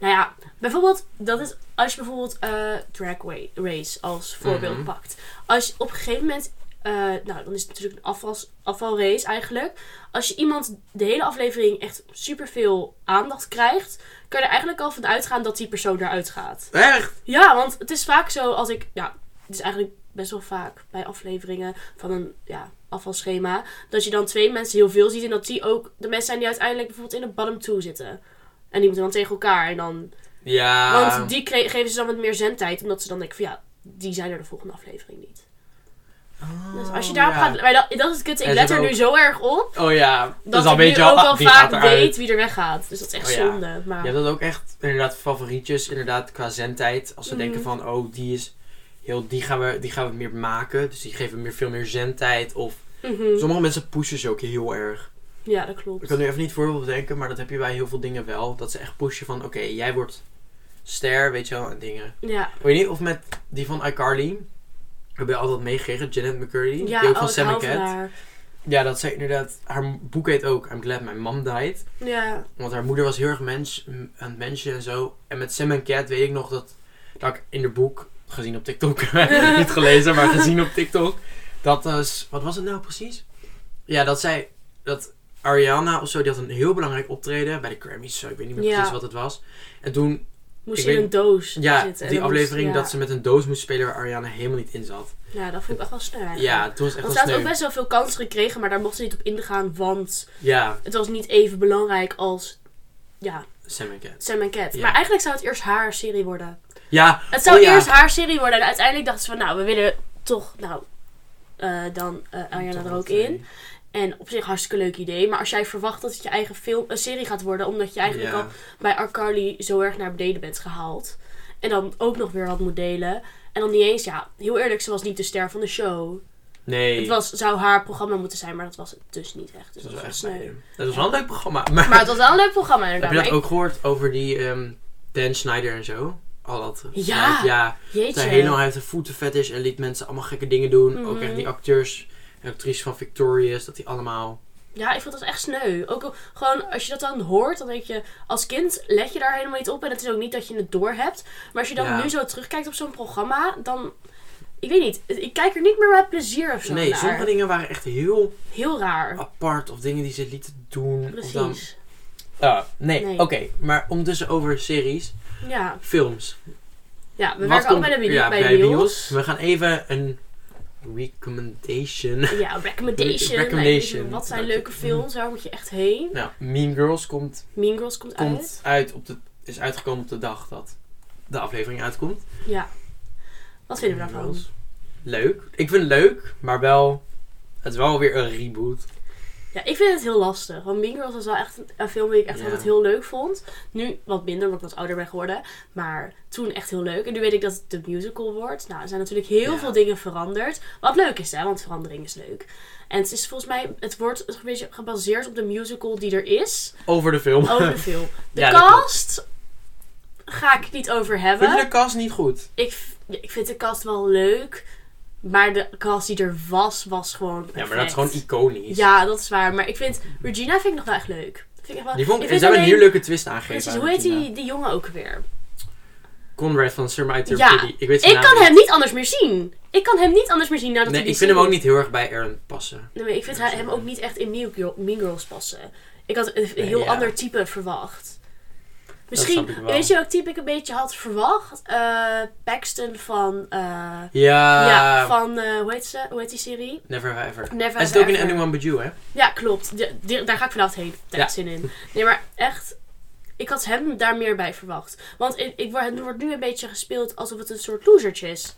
B: Nou ja, bijvoorbeeld, dat is als je bijvoorbeeld eh drag wa- race als voorbeeld
A: Mhm.
B: pakt. Als je op een gegeven moment, eh, nou dan is het natuurlijk een afvals, afvalrace eigenlijk. Als je iemand de hele aflevering echt superveel aandacht krijgt, kan je er eigenlijk al van uitgaan dat die persoon eruit gaat.
A: Echt?
B: Ja, want het is vaak zo als ik. Ja, het is eigenlijk best wel vaak bij afleveringen van een ja, afvalschema. Dat je dan twee mensen heel veel ziet. En dat die ook de mensen zijn die uiteindelijk bijvoorbeeld in de bottom two zitten. En die moeten dan tegen elkaar. En dan,
A: Ja.
B: want die kre- geven ze dan wat meer zendtijd. Omdat ze dan denken van ja, die zijn er de volgende aflevering niet.
A: Oh,
B: Dus als je daarop
A: ja.
B: gaat. Maar dat, dat is het kutte. Ik
A: En ze
B: let er
A: hebben
B: nu zo erg op.
A: Oh ja.
B: Dat
A: dus dan
B: ik
A: weet
B: nu
A: je al,
B: ook
A: ah,
B: al
A: die gaat
B: vaak
A: eruit.
B: weet wie er weggaat. Dus dat is echt
A: Oh ja.
B: zonde. Maar
A: Je hebt dat ook echt inderdaad favorietjes, inderdaad qua zendtijd. Als ze
B: Mhm.
A: denken van, oh, die is heel, die gaan we, die gaan we meer maken. Dus die geven meer, veel meer zendtijd. Of
B: mhm.
A: sommige mensen pushen ze ook heel erg.
B: ja, dat
A: Ik
B: klopt.
A: kan nu even niet het voorbeeld bedenken, maar dat heb je bij heel veel dingen wel. Dat ze echt pushen van, oké, jij wordt ster, weet je wel, en dingen.
B: Ja,
A: Weet je niet, of met die van iCarly. Heb je altijd meegekregen, Janet McCurdy.
B: ja
A: die ook
B: oh,
A: van
B: ik
A: Sam
B: hou
A: and
B: van
A: Cat.
B: haar.
A: Ja, dat zei inderdaad, haar boek heet ook I'm Glad My Mom Died.
B: Ja.
A: Want haar moeder was heel erg mens, m- aan het mensje en zo. En met Sam en Cat weet ik nog dat, dat ik in haar boek, gezien op TikTok, niet gelezen, maar gezien op TikTok. Dat is, wat was het nou precies? Ja, dat zij, dat Ariana of zo, die had een heel belangrijk optreden bij de Grammys. Zo, ik weet niet meer
B: Ja.
A: precies wat het was. En toen,
B: Moest
A: Ik
B: je in
A: weet-
B: een doos
A: ja,
B: zitten. en
A: die
B: dan
A: aflevering
B: moest- ja.
A: dat ze met een doos moest spelen waar Ariana helemaal niet in zat.
B: Ja, dat vond ik echt wel sneu eigenlijk.
A: Ja, toen was het
B: Want
A: echt
B: ze
A: wel
B: had ook
A: sneu.
B: best wel veel kansen gekregen, maar daar mocht ze niet op ingaan, want
A: Ja,
B: het was niet even belangrijk als... Ja,
A: Sam en Cat.
B: Sam en Cat.
A: Ja.
B: Maar eigenlijk zou het eerst haar serie worden.
A: Ja,
B: Het zou
A: oh ja.
B: eerst haar serie worden. En uiteindelijk dachten ze van, nou, we willen toch, nou, eh, dan eh Ariana er ook in. En op zich hartstikke leuk idee. Maar als jij verwacht dat het je eigen film, een serie gaat worden, omdat je eigenlijk al
A: Ja.
B: bij iCarly zo erg naar beneden bent gehaald. En dan ook nog weer wat moet delen. En dan niet eens, ja, heel eerlijk, ze was niet de ster van de show.
A: Nee.
B: Het was, zou haar programma moeten zijn, maar dat was het dus niet echt.
A: Dat
B: Dus dat
A: was
B: was
A: echt
B: sneu.
A: sneu. Dat was wel een leuk programma. Maar,
B: Maar het was wel een leuk programma
A: heb
B: inderdaad.
A: je dat
B: Maar ik-
A: ook gehoord over die ehm, Dan Snyder en zo? Al dat.
B: Ja.
A: gezeik. ja. Dat
B: Jeetje.
A: hij helemaal uit de voeten vet is en liet mensen allemaal gekke dingen doen. Ook
B: Mhm.
A: echt die acteurs en actrices van Victorious, dat die allemaal...
B: Ja, ik vond dat echt sneu. Ook al- gewoon als je dat dan hoort, dan denk je als kind let je daar helemaal niet op. En het is ook niet dat je het door hebt. Maar als je dan
A: Ja.
B: nu zo terugkijkt op zo'n programma, dan. Ik weet niet, ik kijk er niet meer met plezier of zo.
A: nee,
B: naar.
A: sommige dingen waren echt heel
B: Heel raar.
A: apart of dingen die ze lieten doen. Of dan...
B: Precies.
A: Ah, nee,
B: Nee.
A: oké. Maar ondertussen over series,
B: Ja.
A: films.
B: ja, we
A: Wat
B: werken ook
A: komt-
B: bij de,
A: ja,
B: bij de
A: Bios.
B: Bios.
A: We gaan even een recommendation.
B: Ja, recommendation.
A: Recommendation.
B: Like, wat zijn
A: Dank je.
B: leuke films? Waar moet je echt heen?
A: Nou, Mean Girls komt,
B: Mean Girls komt,
A: komt
B: uit.
A: uit op de, is uitgekomen op de dag dat de aflevering uitkomt.
B: Ja. Wat vinden we
A: Mean
B: daarvan?
A: Girls. Leuk. Ik vind het leuk, maar wel... Het is wel weer een reboot.
B: Ja, ik vind het heel lastig. Want Mean Girls was dus wel echt een, een film die ik echt
A: Ja.
B: altijd heel leuk vond. Nu wat minder, omdat ik wat ouder ben geworden. Maar toen echt heel leuk. En nu weet ik dat het de musical wordt. Nou, er zijn natuurlijk heel
A: Ja.
B: veel dingen veranderd. Wat leuk is, hè, want verandering is leuk. En het is volgens mij, het wordt een beetje gebaseerd op de musical die er is.
A: Over de film.
B: Over de film. De
A: Ja, dat klopt.
B: cast ga ik het niet over hebben.
A: Vind je de cast niet goed?
B: Ik, v- ja, ik vind de cast wel leuk. Maar de cast die er was, was gewoon.
A: Ja, maar dat is
B: perfect.
A: gewoon iconisch.
B: Ja, dat is waar. Maar ik vind Regina vind ik nog wel echt leuk. Vind ik echt wel...
A: Die vond,
B: ik
A: ze
B: vind
A: hebben een
B: alleen-
A: heel leuke twist aangegeven.
B: Precies,
A: aan
B: hoe heet
A: Regina.
B: die, die jongen ook weer?
A: Conrad van Sir My
B: Ja,
A: Kitty. Ik weet zijn
B: Ik
A: naam
B: kan hem niet anders meer zien. Ik kan hem niet anders meer zien nadat
A: Nee,
B: die
A: ik vind hem
B: serie-
A: ook niet heel erg bij Aaron passen.
B: Nee, maar ik vind
A: Ja,
B: hij-
A: sorry.
B: hem ook niet echt in Mean Girl- Mean Girls passen. Ik had een een
A: Nee,
B: heel
A: ja.
B: ander type verwacht. Misschien,
A: snap ik wel.
B: weet je welk type ik een beetje had verwacht? Eh, Paxton van, eh,
A: Ja,
B: ja, van eh, hoe, heet ze? hoe heet die serie?
A: Never Have I Ever.
B: Never
A: Hij
B: Have
A: zit ook in
B: Ever.
A: Anyone But You, hè?
B: Ja, klopt. De- de- daar ga ik vanavond heen. Daar heb ik zin in. Nee, maar echt, ik had hem daar meer bij verwacht. Want ik, ik word, het wordt nu een beetje gespeeld alsof het een soort losertje is.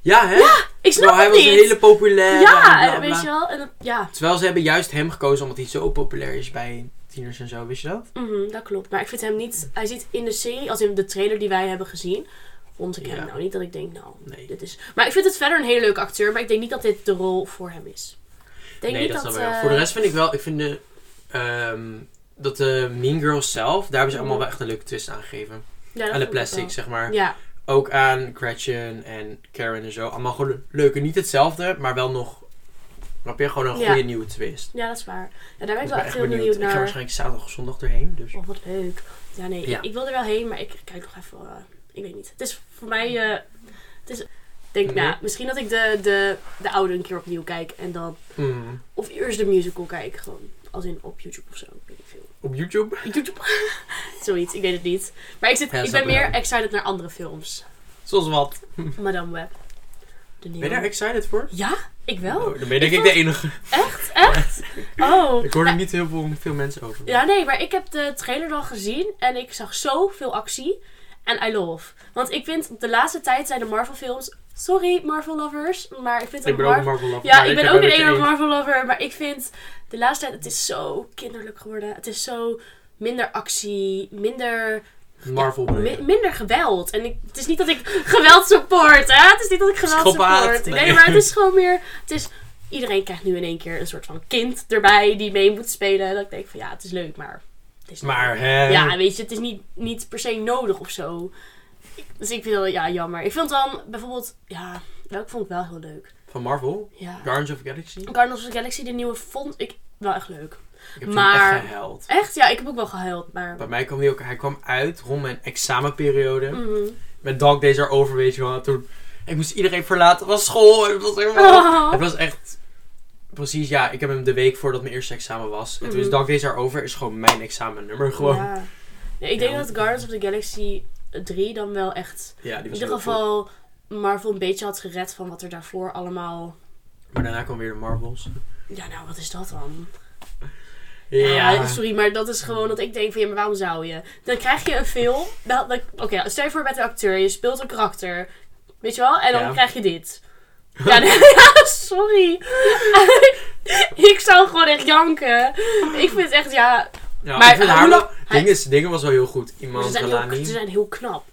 A: Ja, hè? Ja,
B: Ik snap
A: Nou, hij
B: het
A: was
B: niet.
A: een hele populaire. en
B: ja,
A: bla,
B: en
A: bla.
B: weet je wel. En dat- ja,
A: Terwijl ze hebben juist hem gekozen omdat hij zo populair is bij tieners en zo, wist je dat?
B: mhm, dat klopt. Maar ik vind hem niet... Hij zit in de serie, als in de trailer die wij hebben gezien... Vond ik
A: Ja.
B: hem nou niet dat ik denk, nou,
A: Nee.
B: dit is... Maar ik vind het verder een hele leuke acteur. Maar ik denk niet dat dit de rol voor hem is. Ik denk
A: nee,
B: niet
A: dat
B: dat...
A: snap ik wel.
B: eh,
A: Voor de rest vind ik wel, ik vind de, ehm, dat de Mean Girls zelf, daar hebben ze allemaal wel echt een leuke twist aan gegeven.
B: ja, dat
A: Aan de
B: vond ik wel.
A: plastic, zeg maar.
B: Ja,
A: Ook aan Gretchen en Karen en zo. Allemaal gewoon leuke, niet hetzelfde, maar wel nog, snap je, gewoon een
B: Ja.
A: goede nieuwe twist.
B: ja, dat is waar. Ja, daar
A: Ik
B: ben ik wel
A: Dus ben
B: echt
A: echt
B: heel benieuwd,
A: benieuwd.
B: naar.
A: Ik ga waarschijnlijk zaterdag of zondag erheen, dus...
B: Oh, wat leuk. Ja, nee,
A: Ja.
B: Ik, ik wil er wel heen, maar ik kijk nog even. eh, ik weet niet. Het is voor mij. eh, het is. ik Denk,
A: Nee.
B: nou, misschien dat ik de, de, de oude een keer opnieuw kijk en dan.
A: Mm.
B: Of eerst de musical kijk, gewoon. Als in op YouTube of zo. Ik weet niet veel.
A: Op YouTube?
B: YouTube. Zoiets, ik weet het niet. Maar ik, zit,
A: Ja,
B: ik
A: snap
B: ben
A: ik
B: meer
A: wel.
B: excited naar andere films.
A: Zoals wat.
B: Madame Web. De
A: Ben je
B: nieuwe.
A: daar excited voor?
B: ja, ik wel.
A: Oh, dan ben je denk
B: Ik
A: ik de enige.
B: Echt? Echt? Oh.
A: Ik hoor er niet heel veel, veel mensen over.
B: Ja, nee, maar ik heb de trailer dan gezien en ik zag zoveel actie. En I love. Want ik vind de laatste tijd zijn de Marvel films. Sorry, Marvel lovers. Maar ik vind
A: ik
B: de
A: ben ook
B: Mar-
A: een Marvel lover.
B: Ja,
A: maar
B: ik ben
A: heb
B: ook
A: er
B: een
A: geen
B: enorme
A: één.
B: Marvel lover. Maar ik vind de laatste tijd. Het is zo kinderlijk geworden. Het is zo minder actie. Minder,
A: Marvel ben
B: mi-
A: ik.
B: minder geweld. En ik, het is niet dat ik geweld support. Hè? Het is niet dat ik geweld
A: Schopaat,
B: support. Nee.
A: nee.
B: maar het is gewoon meer. Het is, iedereen krijgt nu in één keer een soort van kind erbij die mee moet spelen. En dat ik denk van ja, het is leuk, maar. eh, Het is niet
A: Maar hè.
B: ja, weet je, het is niet, niet per se nodig of zo. Ik- Dus ik vind het, ja, jammer. Ik vond dan bijvoorbeeld, ja, welke vond ik wel heel leuk?
A: Van Marvel?
B: Ja.
A: Guardians of the Galaxy? Ik
B: Guardians of the Galaxy, de nieuwe, vond ik wel echt leuk.
A: heb toen
B: Maar-
A: echt gehuild.
B: Echt? Ja, ik heb ook wel gehuild, maar...
A: Bij mij kwam hij ook... Hij kwam uit rond mijn examenperiode.
B: Mhm.
A: Mijn dog days are over, weet je wel. En Toen... Ik moest iedereen verlaten van school. Het was helemaal...
B: Oh.
A: Het was echt... Precies, ja. Ik heb hem de week voordat mijn eerste examen was. En toen is
B: Mhm.
A: dog days are over. Is gewoon mijn examennummer gewoon. Ja,
B: Ja. Nee, ik denk
A: Ja.
B: dat Guardians of the Galaxy 3 dan wel echt...
A: die
B: In
A: was
B: ieder
A: heel goed.
B: geval Marvel een beetje had gered van wat er daarvoor allemaal...
A: Maar daarna kwam weer de Marvels.
B: Ja, nou, wat is dat dan?
A: Ja.
B: sorry, maar dat is gewoon dat ik denk van ja, maar waarom zou je? Dan krijg je een film. dan- dan- Oké, stel je voor je bent een acteur, je speelt een karakter. Weet je wel? En dan
A: Ja.
B: krijg je dit. Ja, nee, ja, sorry. ik zou gewoon echt janken. Ik vind het echt, ja.
A: Ja,
B: Maar
A: ik vind
B: hoe
A: haar
B: lang-
A: wel- Ding is, dingen was wel heel goed.
B: Ze
A: Iemand,
B: zijn, heel, ze
A: Lani.
B: zijn heel knap.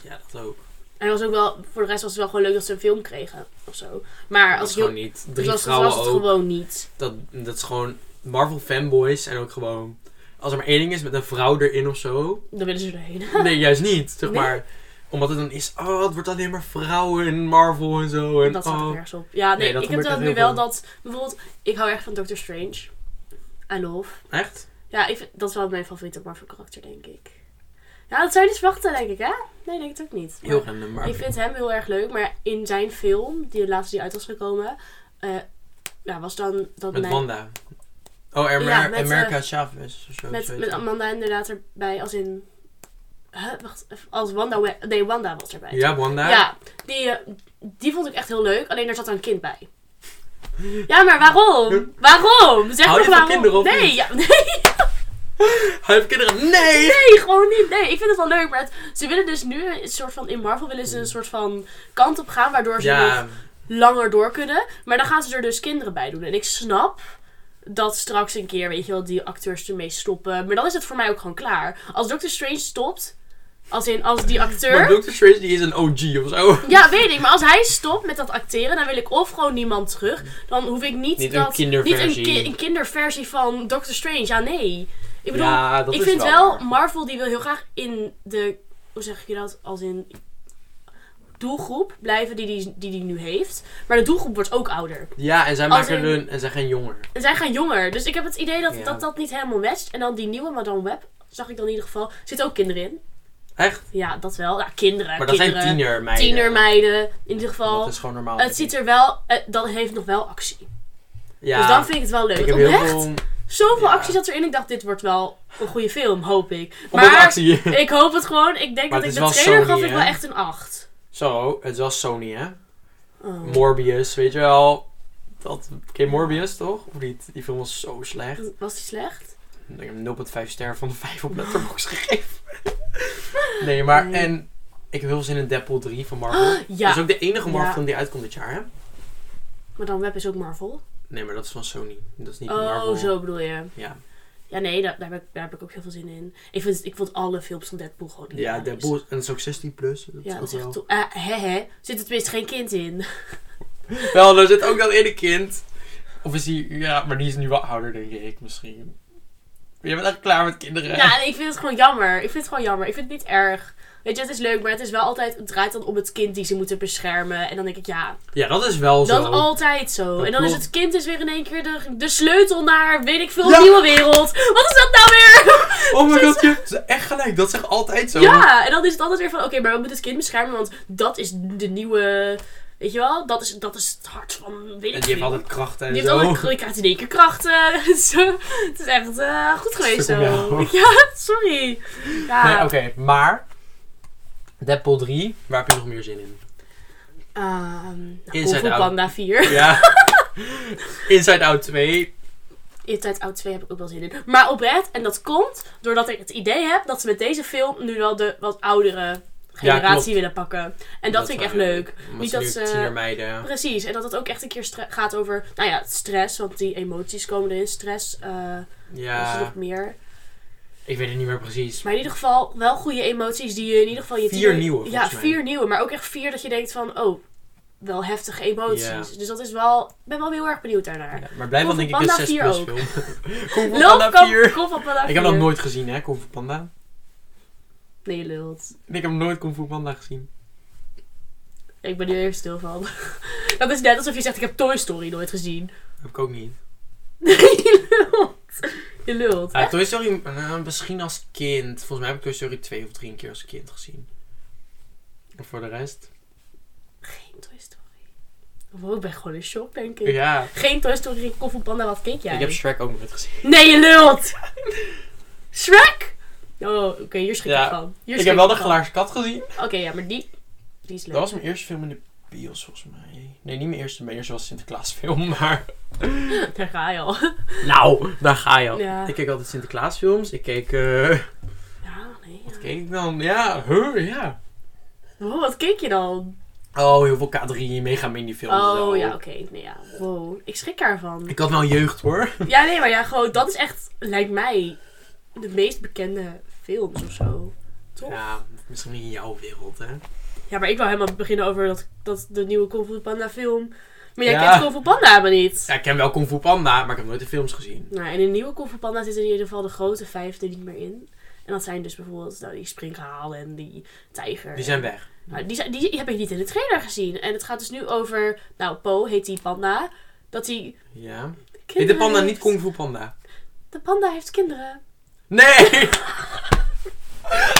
A: Ja, dat ook.
B: En was ook wel, voor de rest was het wel gewoon leuk dat ze een film kregen of zo. Maar
A: Dat
B: als
A: was
B: ik heel
A: gewoon niet.
B: Dus
A: Drie
B: was, het-
A: vrouwen
B: was het
A: ook.
B: gewoon niet.
A: Dat, dat is gewoon Marvel fanboys en ook gewoon... Als er maar één ding is met een vrouw erin of zo...
B: Dan willen ze erheen.
A: Nee, juist niet. Zeg
B: Nee.
A: maar. Omdat het dan is... Oh, het wordt alleen maar vrouwen in Marvel en zo. En,
B: Dat staat
A: oh.
B: ergens op. Ja, nee,
A: Nee, dat
B: ik heb
A: gebeurt
B: dat
A: echt
B: nu
A: heel
B: wel
A: veel.
B: dat... Bijvoorbeeld, ik hou erg van Doctor Strange. I love.
A: Echt?
B: Ja, ik vind, dat is wel mijn favoriete Marvel karakter, denk ik. Ja, dat zou je dus wachten, denk ik, hè? Nee, denk ik ook niet. Maar
A: Heel random, maar...
B: ik vind hem heel erg leuk, maar in zijn film, die de laatste die uit was gekomen... eh, ja, was dan dat
A: Met
B: mijn...
A: Wanda. Oh, Amer
B: Ja, met, eh,
A: America Chavez of zo.
B: met,
A: zoiets.
B: met Amanda inderdaad erbij, als in... Huh, wacht, even, als Wanda... we- Nee, Wanda was erbij.
A: Ja, Wanda.
B: Ja, die, eh, die vond ik echt heel leuk. Alleen er zat een kind bij. Ja, maar waarom? Waarom? Zeg
A: Hou
B: maar
A: je van
B: waarom?
A: kinderen of
B: nee,
A: niet?
B: ja, nee,
A: Hij heeft kinderen. Nee!
B: nee, gewoon niet. Nee, ik vind het wel leuk. Maar het- ze willen dus nu een soort van... In Marvel willen ze een soort van kant op gaan. Waardoor ze nog
A: Hmm. Ja,
B: langer door kunnen. Maar dan gaan ze er dus kinderen bij doen. En ik snap dat straks een keer, weet je wel, die acteurs ermee stoppen. Maar dan is het voor mij ook gewoon klaar. Als Doctor Strange stopt... Als in, als die acteur...
A: maar Doctor Strange die is een OG of zo.
B: Ja, weet ik. Maar als hij stopt met dat acteren, dan wil ik of gewoon niemand terug. Dan hoef ik niet,
A: Niet een
B: dat...
A: kinderversie.
B: Niet een, ki- een kinderversie van Doctor Strange. Ja, nee. Ik bedoel,
A: ja, dat
B: ik
A: is
B: vind
A: wel.
B: wel,
A: waar.
B: Marvel die wil heel graag in de... Hoe zeg je dat? Als in doelgroep blijven die die, die, die nu heeft. Maar de doelgroep wordt ook ouder.
A: Ja, en zij
B: Als
A: maken
B: in-
A: hun en zij gaan jonger.
B: En zij gaan jonger. Dus ik heb het idee dat
A: Ja.
B: dat, dat niet helemaal matcht. En dan die nieuwe Madame Web, zag ik dan in ieder geval, zitten ook kinderen in.
A: Echt?
B: Ja, dat wel. Ja, kinderen.
A: Maar dat zijn
B: kinderen,
A: tienermeiden.
B: Tienermeiden. In ieder geval.
A: Dat is gewoon normaal.
B: Het ziet er wel, eh, dat heeft nog wel actie.
A: ja,
B: Dus dan vind ik het wel leuk.
A: ik
B: Want
A: heb heel
B: Oprecht,
A: veel
B: zoveel
A: ja.
B: actie zat erin. Ik dacht, dit wordt wel een goede film, hoop ik.
A: maar,
B: Maar
A: actie.
B: ik hoop het gewoon. Ik denk
A: Maar
B: dat
A: het
B: ik
A: is
B: de
A: wel
B: trailer
A: Sony,
B: gaf ik
A: hè?
B: wel echt een 8.
A: Zo, het was Sony hè.
B: Oh.
A: Morbius, weet je wel. Dat, ken je Morbius toch? Of niet? Die film was zo slecht.
B: Was die slecht?
A: Ik heb hem 0,5 ster van de 5 op Letterboxd gegeven. nee, maar
B: Nee.
A: en ik heb heel veel zin in Deadpool 3 van Marvel.
B: ja.
A: Dat is ook de enige Marvel
B: Ja.
A: film die uitkomt dit jaar hè.
B: Maar dan Web is ook Marvel.
A: Nee, maar dat is van Sony. Dat is niet
B: oh,
A: Marvel.
B: zo bedoel je.
A: Ja,
B: Ja, nee, daar, daar, heb, ik, daar heb ik ook heel veel zin in. Ik, vind, het- ik vond alle films van Deadpool gewoon niet
A: ja Deadpool is, en dat is ook 16 plus. Dat
B: dus- Ja, dat is
A: ook
B: echt...
A: wel.
B: to- Eh, hè, hè. Zit er tenminste geen kind in?
A: Wel, er zit ook dat ene kind. Of is die... Ja, maar die is nu wel ouder, denk ik, misschien. Maar je bent echt klaar met kinderen.
B: Ja, nee, ik vind het gewoon jammer. Ik vind het gewoon jammer. Ik vind het niet erg. Weet je, het is leuk, maar het is wel altijd... Het draait dan om het kind die ze moeten beschermen. En dan denk ik, ja,
A: Ja, dat is wel
B: dat
A: zo.
B: altijd zo.
A: Dat
B: en dan is
A: klopt.
B: het kind dus weer in één keer de, de sleutel naar, weet ik veel,
A: Ja.
B: een nieuwe wereld. Wat is dat nou weer?
A: Oh mijn god, je ze- echt gelijk. Dat is echt altijd zo.
B: Ja, en dan is het altijd weer van, oké, maar we moeten het kind beschermen, want dat is de nieuwe... Weet je wel? Dat is, dat is het hart van, weet
A: En
B: ik
A: die heeft
B: veel.
A: altijd Oh. krachten en
B: Die heeft
A: zo.
B: altijd, je krijgt in één keer krachten. Zo. het is echt eh, goed geweest
A: Stuk om
B: zo.
A: jou.
B: Ja, sorry. Ja.
A: Nee, oké. maar... Deadpool 3, waar heb je nog meer zin in?
B: Ehm nou,
A: Inside
B: Kung Fu
A: Out.
B: Panda 4.
A: Ja. Inside Out 2.
B: Inside Out 2 heb ik ook wel zin in. Maar oprecht, en dat komt doordat ik het idee heb dat ze met deze film nu wel de wat oudere generatie
A: klopt.
B: willen pakken. En dat, vind ik echt leuk. Niet
A: Niet
B: dat
A: dat
B: ze-
A: nu tienermeiden...
B: Precies, en dat het ook echt een keer stre- gaat over, nou ja, stress, want die emoties komen erin. Stress, eh wat is er
A: Ja,
B: nog meer.
A: ik weet het niet meer precies.
B: Maar in ieder geval wel goede emoties die je in ieder geval... Je
A: Vier
B: tiener-
A: nieuwe,
B: Ja,
A: volgens mij.
B: vier nieuwe, maar ook echt vier dat je denkt van, oh, wel heftige emoties.
A: Ja.
B: Dus dat is wel, ik ben wel heel erg benieuwd daarnaar.
A: Ja, maar blijf wel
B: Kung
A: denk
B: Fu
A: ik een
B: Panda
A: 6
B: 4
A: plus
B: ook.
A: film. Kung Fu
B: Loop,
A: Panda
B: kom,
A: 4.
B: kom op Panda
A: Ik heb dat
B: vier.
A: nooit gezien, hè, Kung Fu Panda.
B: Nee, je lult.
A: Ik heb nooit Kung Fu Panda gezien.
B: Ik ben hier even stil van. Dat is net alsof je zegt, ik heb Toy Story nooit gezien.
A: Heb ik ook niet.
B: Nee, je lult. Je lult.
A: Ja,
B: Echt?
A: Toy Story, eh, misschien als kind. Volgens mij heb ik Toy Story twee of drie keer als kind gezien. En voor de rest?
B: Geen Toy Story. Wow, ik ben gewoon in shock, denk ik.
A: Ja.
B: Geen Toy Story, Koffie Panda, wat keek jij?
A: Ik heb Shrek ook nooit gezien.
B: Nee, je lult! Shrek! Oh, oké, hier schrik ik
A: Ja,
B: van. Hier
A: ik
B: schrik
A: heb wel de
B: van.
A: glaarse kat gezien.
B: Oké, ja, maar die... Die is leuk.
A: Dat was mijn eerste film in de bios volgens mij. Nee, niet mijn eerste. Mijn eerste was Sinterklaasfilm, maar...
B: Daar ga je al.
A: Nou, daar ga je al.
B: Ja.
A: Ik keek altijd Sinterklaasfilms. Ik keek... eh,
B: Ja, nee. ja.
A: wat keek ik dan? Ja, huh, ja.
B: Wow, wat keek je dan?
A: Oh, heel veel K3, Mega Mini films. en zo.
B: Oh, ja, oké. Nee, ja. Wow, ik schrik daarvan.
A: Ik had wel een jeugd hoor.
B: Ja, nee, maar ja, gewoon, dat is echt, lijkt mij, de meest bekende films of zo. Toch? Ja,
A: Ja, misschien niet in jouw wereld, hè?
B: maar ik wil helemaal beginnen over dat, dat de nieuwe Kung Fu Panda film. Maar jij
A: Ja.
B: kent Kung Fu Panda helemaal niet.
A: Ja, ik ken wel Kung Fu Panda, maar ik heb nooit de films gezien.
B: Nou, en in de nieuwe Kung Fu Panda zitten in ieder geval de grote vijfde niet meer in. En dat zijn dus bijvoorbeeld nou, die springhaal en die tijger.
A: Die zijn weg.
B: Nou, die, zijn- die heb ik niet in de trailer gezien. En het gaat dus nu over, nou, Po heet die panda. Dat hij
A: Ja. Heet de
B: kinderen
A: panda niet
B: heeft.
A: Kung Fu Panda?
B: De panda heeft kinderen.
A: Nee!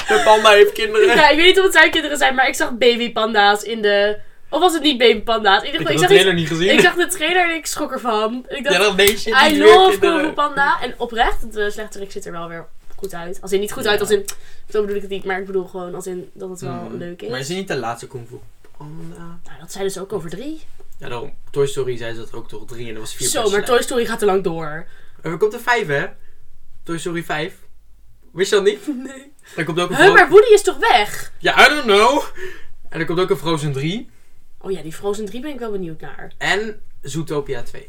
A: De panda heeft kinderen.
B: Ja, ik weet niet of het zijn kinderen zijn, maar ik zag babypanda's in de... Of was het niet babypanda's? In ieder
A: Ik heb
B: geval,
A: de
B: ik, zag iets-
A: trailer niet gezien.
B: ik zag de trailer en ik schrok ervan. Ik
A: Ja,
B: dacht,
A: dat weet je niet
B: I
A: weer,
B: love
A: kinderen.
B: Kung Fu Panda. En oprecht, de slechterik zit er wel weer goed uit. Als in, niet goed
A: Ja.
B: uit, als in... Zo bedoel ik het niet, maar ik bedoel gewoon als in dat het wel
A: Hmm.
B: leuk is.
A: Maar is dit niet de laatste Kung Fu Panda?
B: Nou, dat zijn dus ook over drie.
A: Ja, daarom. Toy Story zei ze dat ook toch drie en dat was vier
B: Zo,
A: best
B: maar
A: slecht.
B: Toy Story gaat te lang door.
A: En er komt er vijf, hè? Toy Story 5. Wist je dat niet?
B: Nee.
A: Er komt ook een
B: Huh,
A: Fro-
B: maar Woody is toch weg?
A: Ja, I don't know. En er komt ook een Frozen 3.
B: Oh ja, die Frozen 3 ben ik wel benieuwd naar.
A: En Zootopia 2.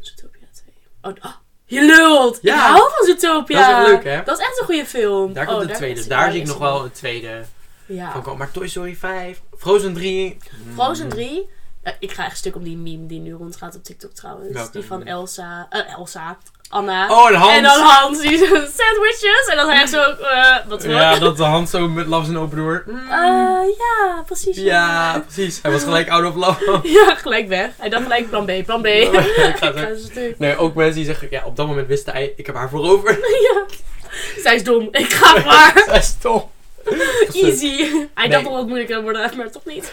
B: Zootopia 2. Oh, oh, je lult!
A: Ja.
B: Ik hou van Zootopia!
A: Dat is echt leuk, hè?
B: Dat is echt een goede film.
A: Daar komt
B: Oh,
A: de tweede.
B: is-
A: daar
B: ja,
A: zie ik
B: is Ah.
A: nog
B: hij.
A: wel een tweede
B: Ja.
A: van komen. Maar Toy Story 5, Frozen 3.
B: Frozen 3. Eh, ik ga echt stuk om die meme die nu rondgaat op TikTok trouwens.
A: Welke
B: die van
A: meme?
B: Elsa. eh, Elsa. Anna.
A: Oh, en Hans.
B: En dan Hans, die zo sandwiches. En dan hij echt zo, eh, wat wil
A: Ja,
B: je?
A: dat de Hans zo met Love's and Open Door.
B: Eh, ja, precies.
A: Ja, precies. Hij was gelijk out of love.
B: Ja, gelijk weg. En dan gelijk plan B, plan B.
A: Ik ga
B: Ik ga
A: zo-
B: stuk.
A: Nee, ook mensen die zeggen, ja, op dat moment wist hij, ik heb haar voorover.
B: Ja. Zij is dom. Ik ga maar.
A: Zij is stom.
B: Easy. Hij dacht
A: Nee.
B: al dat het moeilijker zou worden, maar toch niet.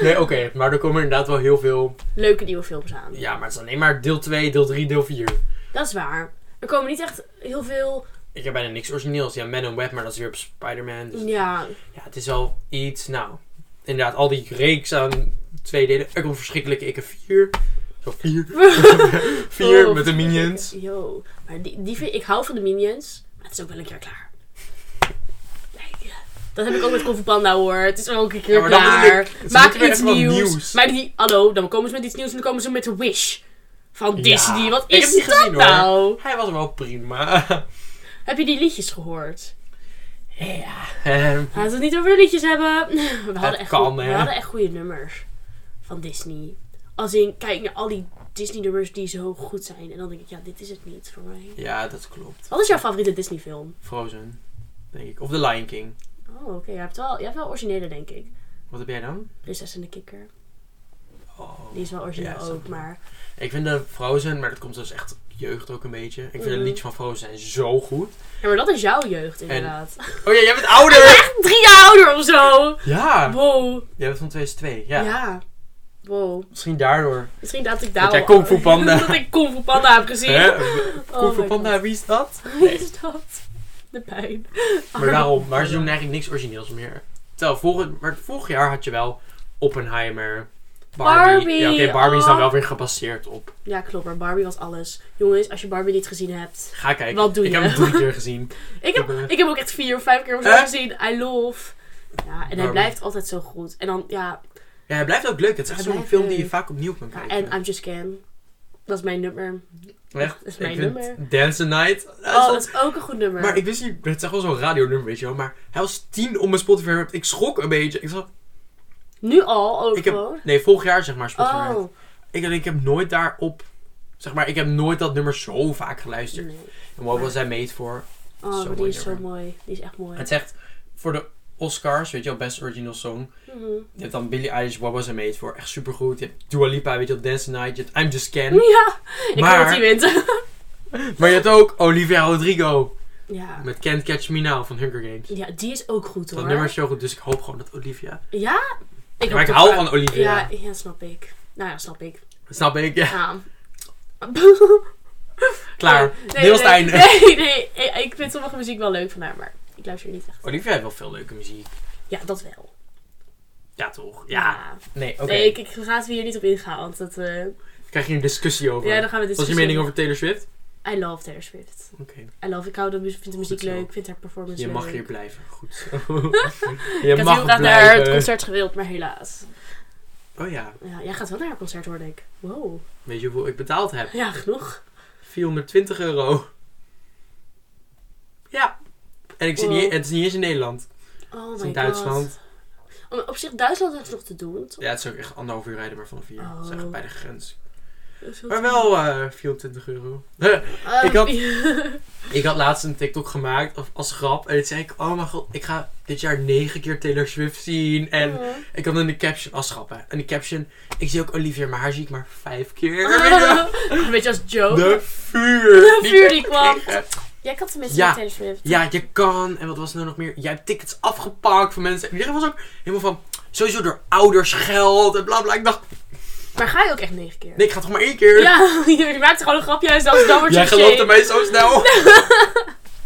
A: Nee, oké, maar er komen inderdaad wel heel veel.
B: Leuke nieuwe films aan.
A: Ja, maar het is alleen maar deel 2, deel 3, deel 4.
B: Dat is waar. Er komen niet echt heel veel.
A: Ik heb bijna niks origineels. Ja, Man on Web, maar dat is weer op Spider-Man. Dus
B: Ja,
A: ja, het is wel iets. Nou, inderdaad, al die reeks aan twee delen. Er komt verschrikkelijke ikke 4. Zo 4. 4
B: Oh,
A: met de minions.
B: Yo. Maar die, die vind, ik hou van de Minions, maar het is ook wel een keer klaar. Like, dat heb ik ook met Kung Fu Panda hoor. Het is ook een keer
A: Ja, maar dan bedoel
B: klaar.
A: ik, ze
B: Maak
A: moeten weer
B: iets
A: even wat
B: nieuws.
A: nieuws.
B: Maar die, hallo, dan komen ze met iets nieuws en dan komen ze met Wish. Van Disney. Wat
A: ik heb
B: is
A: die
B: dat
A: gezien, hoor.
B: nou?
A: Hij was wel prima.
B: Heb je die liedjes gehoord?
A: Ja. Ehm,
B: Laten we het niet over de liedjes hebben. We hadden, echt
A: kan,
B: goe- we
A: hè?
B: hadden echt goede nummers van Disney. Als in, kijk naar al die Disney-nummers die zo goed zijn. En dan denk ik, ja, dit is het niet voor mij.
A: ja, dat klopt.
B: Wat is jouw favoriete Disney-film?
A: Frozen, denk ik. Of The Lion King.
B: Oh, oké. Je, hebt wel- je hebt wel originele, denk ik.
A: Wat heb jij dan?
B: Prinses en de Kikker.
A: Oh.
B: Die is wel origineel
A: Ja, is
B: ook,
A: ook
B: maar...
A: Ik vind de Frozen, maar dat komt dus echt jeugd ook een beetje. Ik vind de
B: Mhm.
A: liedjes van Frozen zijn zo goed.
B: Ja, maar dat is jouw jeugd, inderdaad.
A: Oh ja, jij bent ouder!
B: Echt drie jaar ouder of zo!
A: Ja!
B: Wow.
A: Jij bent van 2002, ja.
B: Ja. Wow.
A: Misschien daardoor.
B: Misschien dat ik daar
A: Dat jij
B: al-
A: Kung Fu Panda-
B: dat ik Kung Fu Panda heb gezien.
A: Hè?
B: Oh
A: Kung Fu
B: my
A: Panda, wie is dat?
B: God. Wat is dat? De pijn.
A: Maar daarom, maar ze doen eigenlijk niks origineels meer. Terwijl, vorig, maar vorig jaar had je wel Oppenheimer, Barbie.
B: Barbie,
A: ja, oké, Barbie is dan
B: oh.
A: wel weer gebaseerd op.
B: Ja, klopt. Maar Barbie was alles. Jongens, als je Barbie niet gezien hebt.
A: Ga kijken.
B: Wat doe
A: ik
B: je?
A: heb hem drie keer gezien.
B: Ik heb,
A: ben-
B: ik heb ook echt vier of vijf keer of zo
A: Hè?
B: gezien. I love. Ja, en hij
A: Barbie.
B: blijft altijd zo goed. En dan, ja,
A: Ja, hij blijft ook leuk. Het is echt
B: Hij
A: zo'n
B: blijft
A: film die je
B: leuk.
A: vaak opnieuw kan kijken.
B: en I'm Just Ken. Dat is mijn nummer.
A: Echt,
B: dat is
A: ik
B: mijn
A: vind
B: nummer.
A: Dance a Night. dat is
B: Oh,
A: wel-
B: dat is ook een goed nummer.
A: maar ik wist niet, het is echt wel zo'n radionummer, weet je wel. Maar hij was tien op mijn Spotify. Wrapped. Ik schrok een beetje. Ik zat,
B: Nu al ook
A: ik heb,
B: gewoon.
A: nee, vorig jaar zeg maar Spotify. Wrapped.
B: Oh.
A: Ik, ik heb nooit daarop, zeg maar, ik heb nooit dat nummer zo vaak geluisterd.
B: Nee.
A: En wat was hij made voor?
B: Oh,
A: Zo'n
B: maar die
A: mooi
B: is zo
A: nummer.
B: mooi. Die is echt mooi.
A: Het zegt voor de Oscars, weet je wel, Best Original Song.
B: Mhm.
A: Je hebt dan Billie Eilish, What Was I Made For, echt supergoed. Je hebt Dua Lipa, weet je wel, Dance the Night. Je hebt I'm Just Ken.
B: Ja, ik
A: Maar-
B: hoop dat hij wint.
A: Maar je hebt ook Olivia Rodrigo
B: ja.
A: met Can't Catch Me Now van Hunger Games.
B: ja, die is ook goed hoor.
A: Dat nummer is zo goed, dus ik hoop gewoon dat Olivia...
B: Ja? Ik
A: maar
B: hoop
A: ik
B: dat-
A: hou van Olivia.
B: Ja, ja, snap ik. Nou ja, snap ik.
A: Snap ik? Ja,
B: Ja.
A: klaar.
B: Nee,
A: Heel
B: nee,
A: Stijn.
B: nee, nee, ik- ik vind sommige
A: Oh,
B: muziek wel leuk van haar, maar ik luister niet echt.
A: Olivia heeft wel veel leuke muziek.
B: Ja, dat wel.
A: Ja, toch? Ja. Nee, oké.
B: Nee, ik, ik laten we hier niet op ingaan, want dat... eh,
A: Krijg je een discussie over?
B: ja, dan gaan we dit
A: Wat is je mening over Taylor Swift?
B: I love Taylor Swift.
A: Oké.
B: I love, ik hou de, mu- vind de muziek
A: Goed zo.
B: leuk, ik vind haar performance
A: Je
B: leuk.
A: mag hier blijven. Goed zo. je
B: ik had heel
A: mag
B: graag naar het
A: blijven.
B: concert gewild, maar helaas.
A: Oh ja,
B: Ja, jij gaat wel naar haar concert, hoorde ik. Wow.
A: weet je hoeveel ik betaald heb?
B: Ja, genoeg.
A: 420 euro. Ja. En ik zit
B: Wow.
A: niet, en het is niet eens in Nederland.
B: Oh my
A: Het
B: god.
A: is in Duitsland.
B: Oh, maar Op zich, Duitsland is nog te doen, toch?
A: Ja, het is ook echt anderhalf uur rijden, maar vanaf hier. Het is echt
B: Oh.
A: bij de grens.
B: Dat is heel
A: Maar
B: te
A: wel eh 24 euro.
B: doen.
A: ik had-
B: Eh,
A: ik had laatst een TikTok gemaakt of- als grap. En toen zei ik, oh mijn god, ik ga dit jaar negen keer Taylor Swift zien. En
B: Ah.
A: ik had in de caption, als grap hè. En de caption, ik zie ook Olivia, maar haar zie ik maar vijf keer. Oh.
B: Een beetje als joke.
A: De vuur.
B: De vuur die kwam.
A: kreeg.
B: Jij kan tenminste
A: Ja.
B: met Taylor Swift.
A: Ja, je kan. En wat was er nou nog meer? Jij hebt tickets afgepakt van mensen. En iedereen was ook helemaal van, sowieso door ouders geld en bla bla. Ik dacht,
B: Maar ga je ook echt negen keer?
A: nee, ik ga toch maar één keer.
B: Ja, je maakt gewoon een grapje en zelfs dan wordt je
A: Jij gelooft in
B: geshamed.
A: mij zo snel.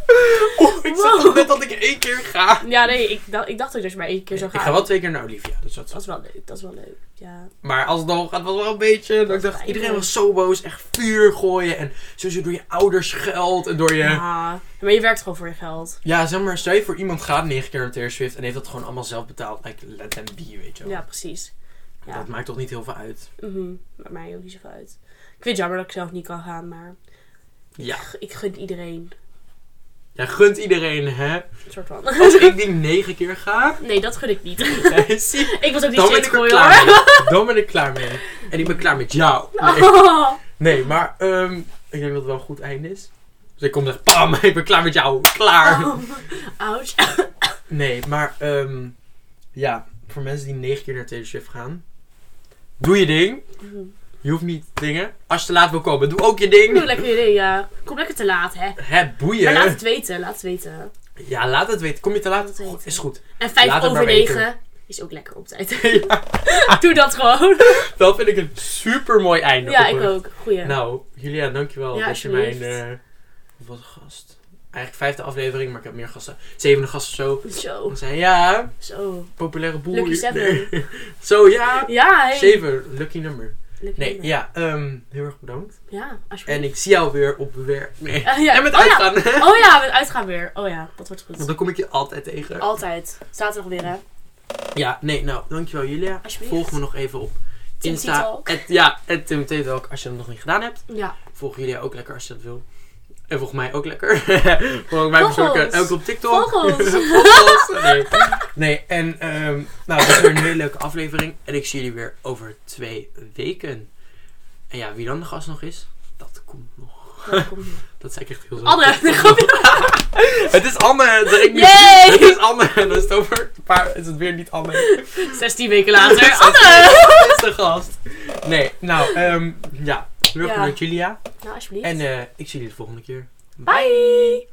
A: Oeh, Oh, ik zag
B: Wow.
A: toch net dat ik er één keer ga.
B: Ja, nee, ik, dacht- ik dacht dat je dus maar één keer zou gaan.
A: Ik ga wel twee keer naar Olivia, dus dat is
B: Dat is wel leuk, dat is wel leuk. Ja.
A: Maar als het dan gaat, was wel een beetje. Dat ik dacht, iedereen was zo boos. Echt vuur gooien. En sowieso door je ouders geld. En door je.
B: Ja, Maar je werkt gewoon voor je geld.
A: Ja, zeg maar, stel je voor iemand gaat negen keer naar Taylor Swift. En heeft dat gewoon allemaal zelf betaald. Like, let them be, weet je wel.
B: Ja, precies. Ja.
A: Dat maakt toch niet heel veel uit.
B: Mhm. Maakt mij ook niet zoveel uit. Ik vind het jammer dat ik zelf niet kan gaan, maar
A: Ja.
B: g- ik gun iedereen.
A: Jij gunt iedereen, hè?
B: Een soort van.
A: Als ik die negen keer ga.
B: Nee, dat gun ik niet.
A: hè, zie,
B: ik was ook niet
A: dan ben
B: shit
A: ik er
B: gooien
A: klaar
B: hoor.
A: mee. Dan ben ik klaar mee. En ik ben klaar met jou. Nee.
B: Oh.
A: Nee, maar ehm, ik denk dat het wel een goed einde is. Dus ik kom en zeg, pam, ik ben klaar met jou,
B: Ah.
A: klaar.
B: Oh. Ouch.
A: Nee, maar ehm, ja, voor mensen die negen keer naar Taylor Swift gaan, doe je ding.
B: Mhm.
A: Je hoeft niet dingen. Als je te laat wil komen, doe ook je ding.
B: Doe lekker idee, ja. Kom lekker te laat, hè.
A: Het boeien.
B: Maar laat het weten, laat het weten.
A: Ja, laat het weten. Kom je te laat?
B: Laat het weten.
A: Is goed.
B: En vijf
A: Laat het maar
B: over negen is ook lekker op tijd.
A: ja,
B: Doe dat gewoon.
A: dat vind ik een super mooi einde.
B: Ja,
A: op
B: ik
A: een-
B: ook. Goeie.
A: Nou, Julia, dankjewel
B: Ja,
A: dat je mijn...
B: alsjeblieft.
A: eh, wat een gast. Eigenlijk vijfde aflevering, maar ik heb meer gasten. Zevende gast of zo.
B: Zo,
A: Dan zei ja,
B: zo.
A: populaire boer.
B: Oh. Lucky seven.
A: Nee. Zo ja.
B: Ja, hey.
A: Zeven, lucky number.
B: Leuk
A: Nee,
B: nummer.
A: ja, ehm, heel erg bedankt.
B: Ja, alsjeblieft.
A: En ik zie jou weer op werk. Nee.
B: Eh, ja.
A: En met
B: Oh ja.
A: uitgaan. hè?
B: Oh ja, met uitgaan weer. Oh ja, dat wordt
A: Want
B: goed.
A: dan kom ik je altijd tegen.
B: Altijd. Zaterdag weer, hè.
A: Ja, nee, nou, dankjewel Julia.
B: Alsjeblieft.
A: Volg me nog even op
B: Tim
A: Insta.
B: T-Talk.
A: Het, ja, het Tim T-Talk als je dat nog niet gedaan hebt.
B: Ja.
A: Volg Julia ook lekker als je dat wil. En volg mij ook lekker. volg mij
B: Volg
A: persoonlijk
B: ons.
A: eh, ook op TikTok.
B: Volg ons.
A: Volg ons. Nee. nee, en ehm, nou, dit is weer een hele leuke aflevering. En ik zie jullie weer over twee weken. En ja, wie dan de gast nog is, dat komt nog.
B: dat komt nog.
A: Dat zei ik echt heel zo.
B: Anne, nee, grapje.
A: Het is Anne. het is- ik nu-
B: Yay!
A: Het is Anne. En dan is het over een paar... Is het weer niet Anne.
B: 16 weken later. Anne!
A: Dat is de gast. Nee, nou, ehm ja. Heel erg
B: Ja.
A: bedankt Julia. eh,
B: Nou, alsjeblieft.
A: En eh, ik zie jullie de volgende keer.
B: Bye.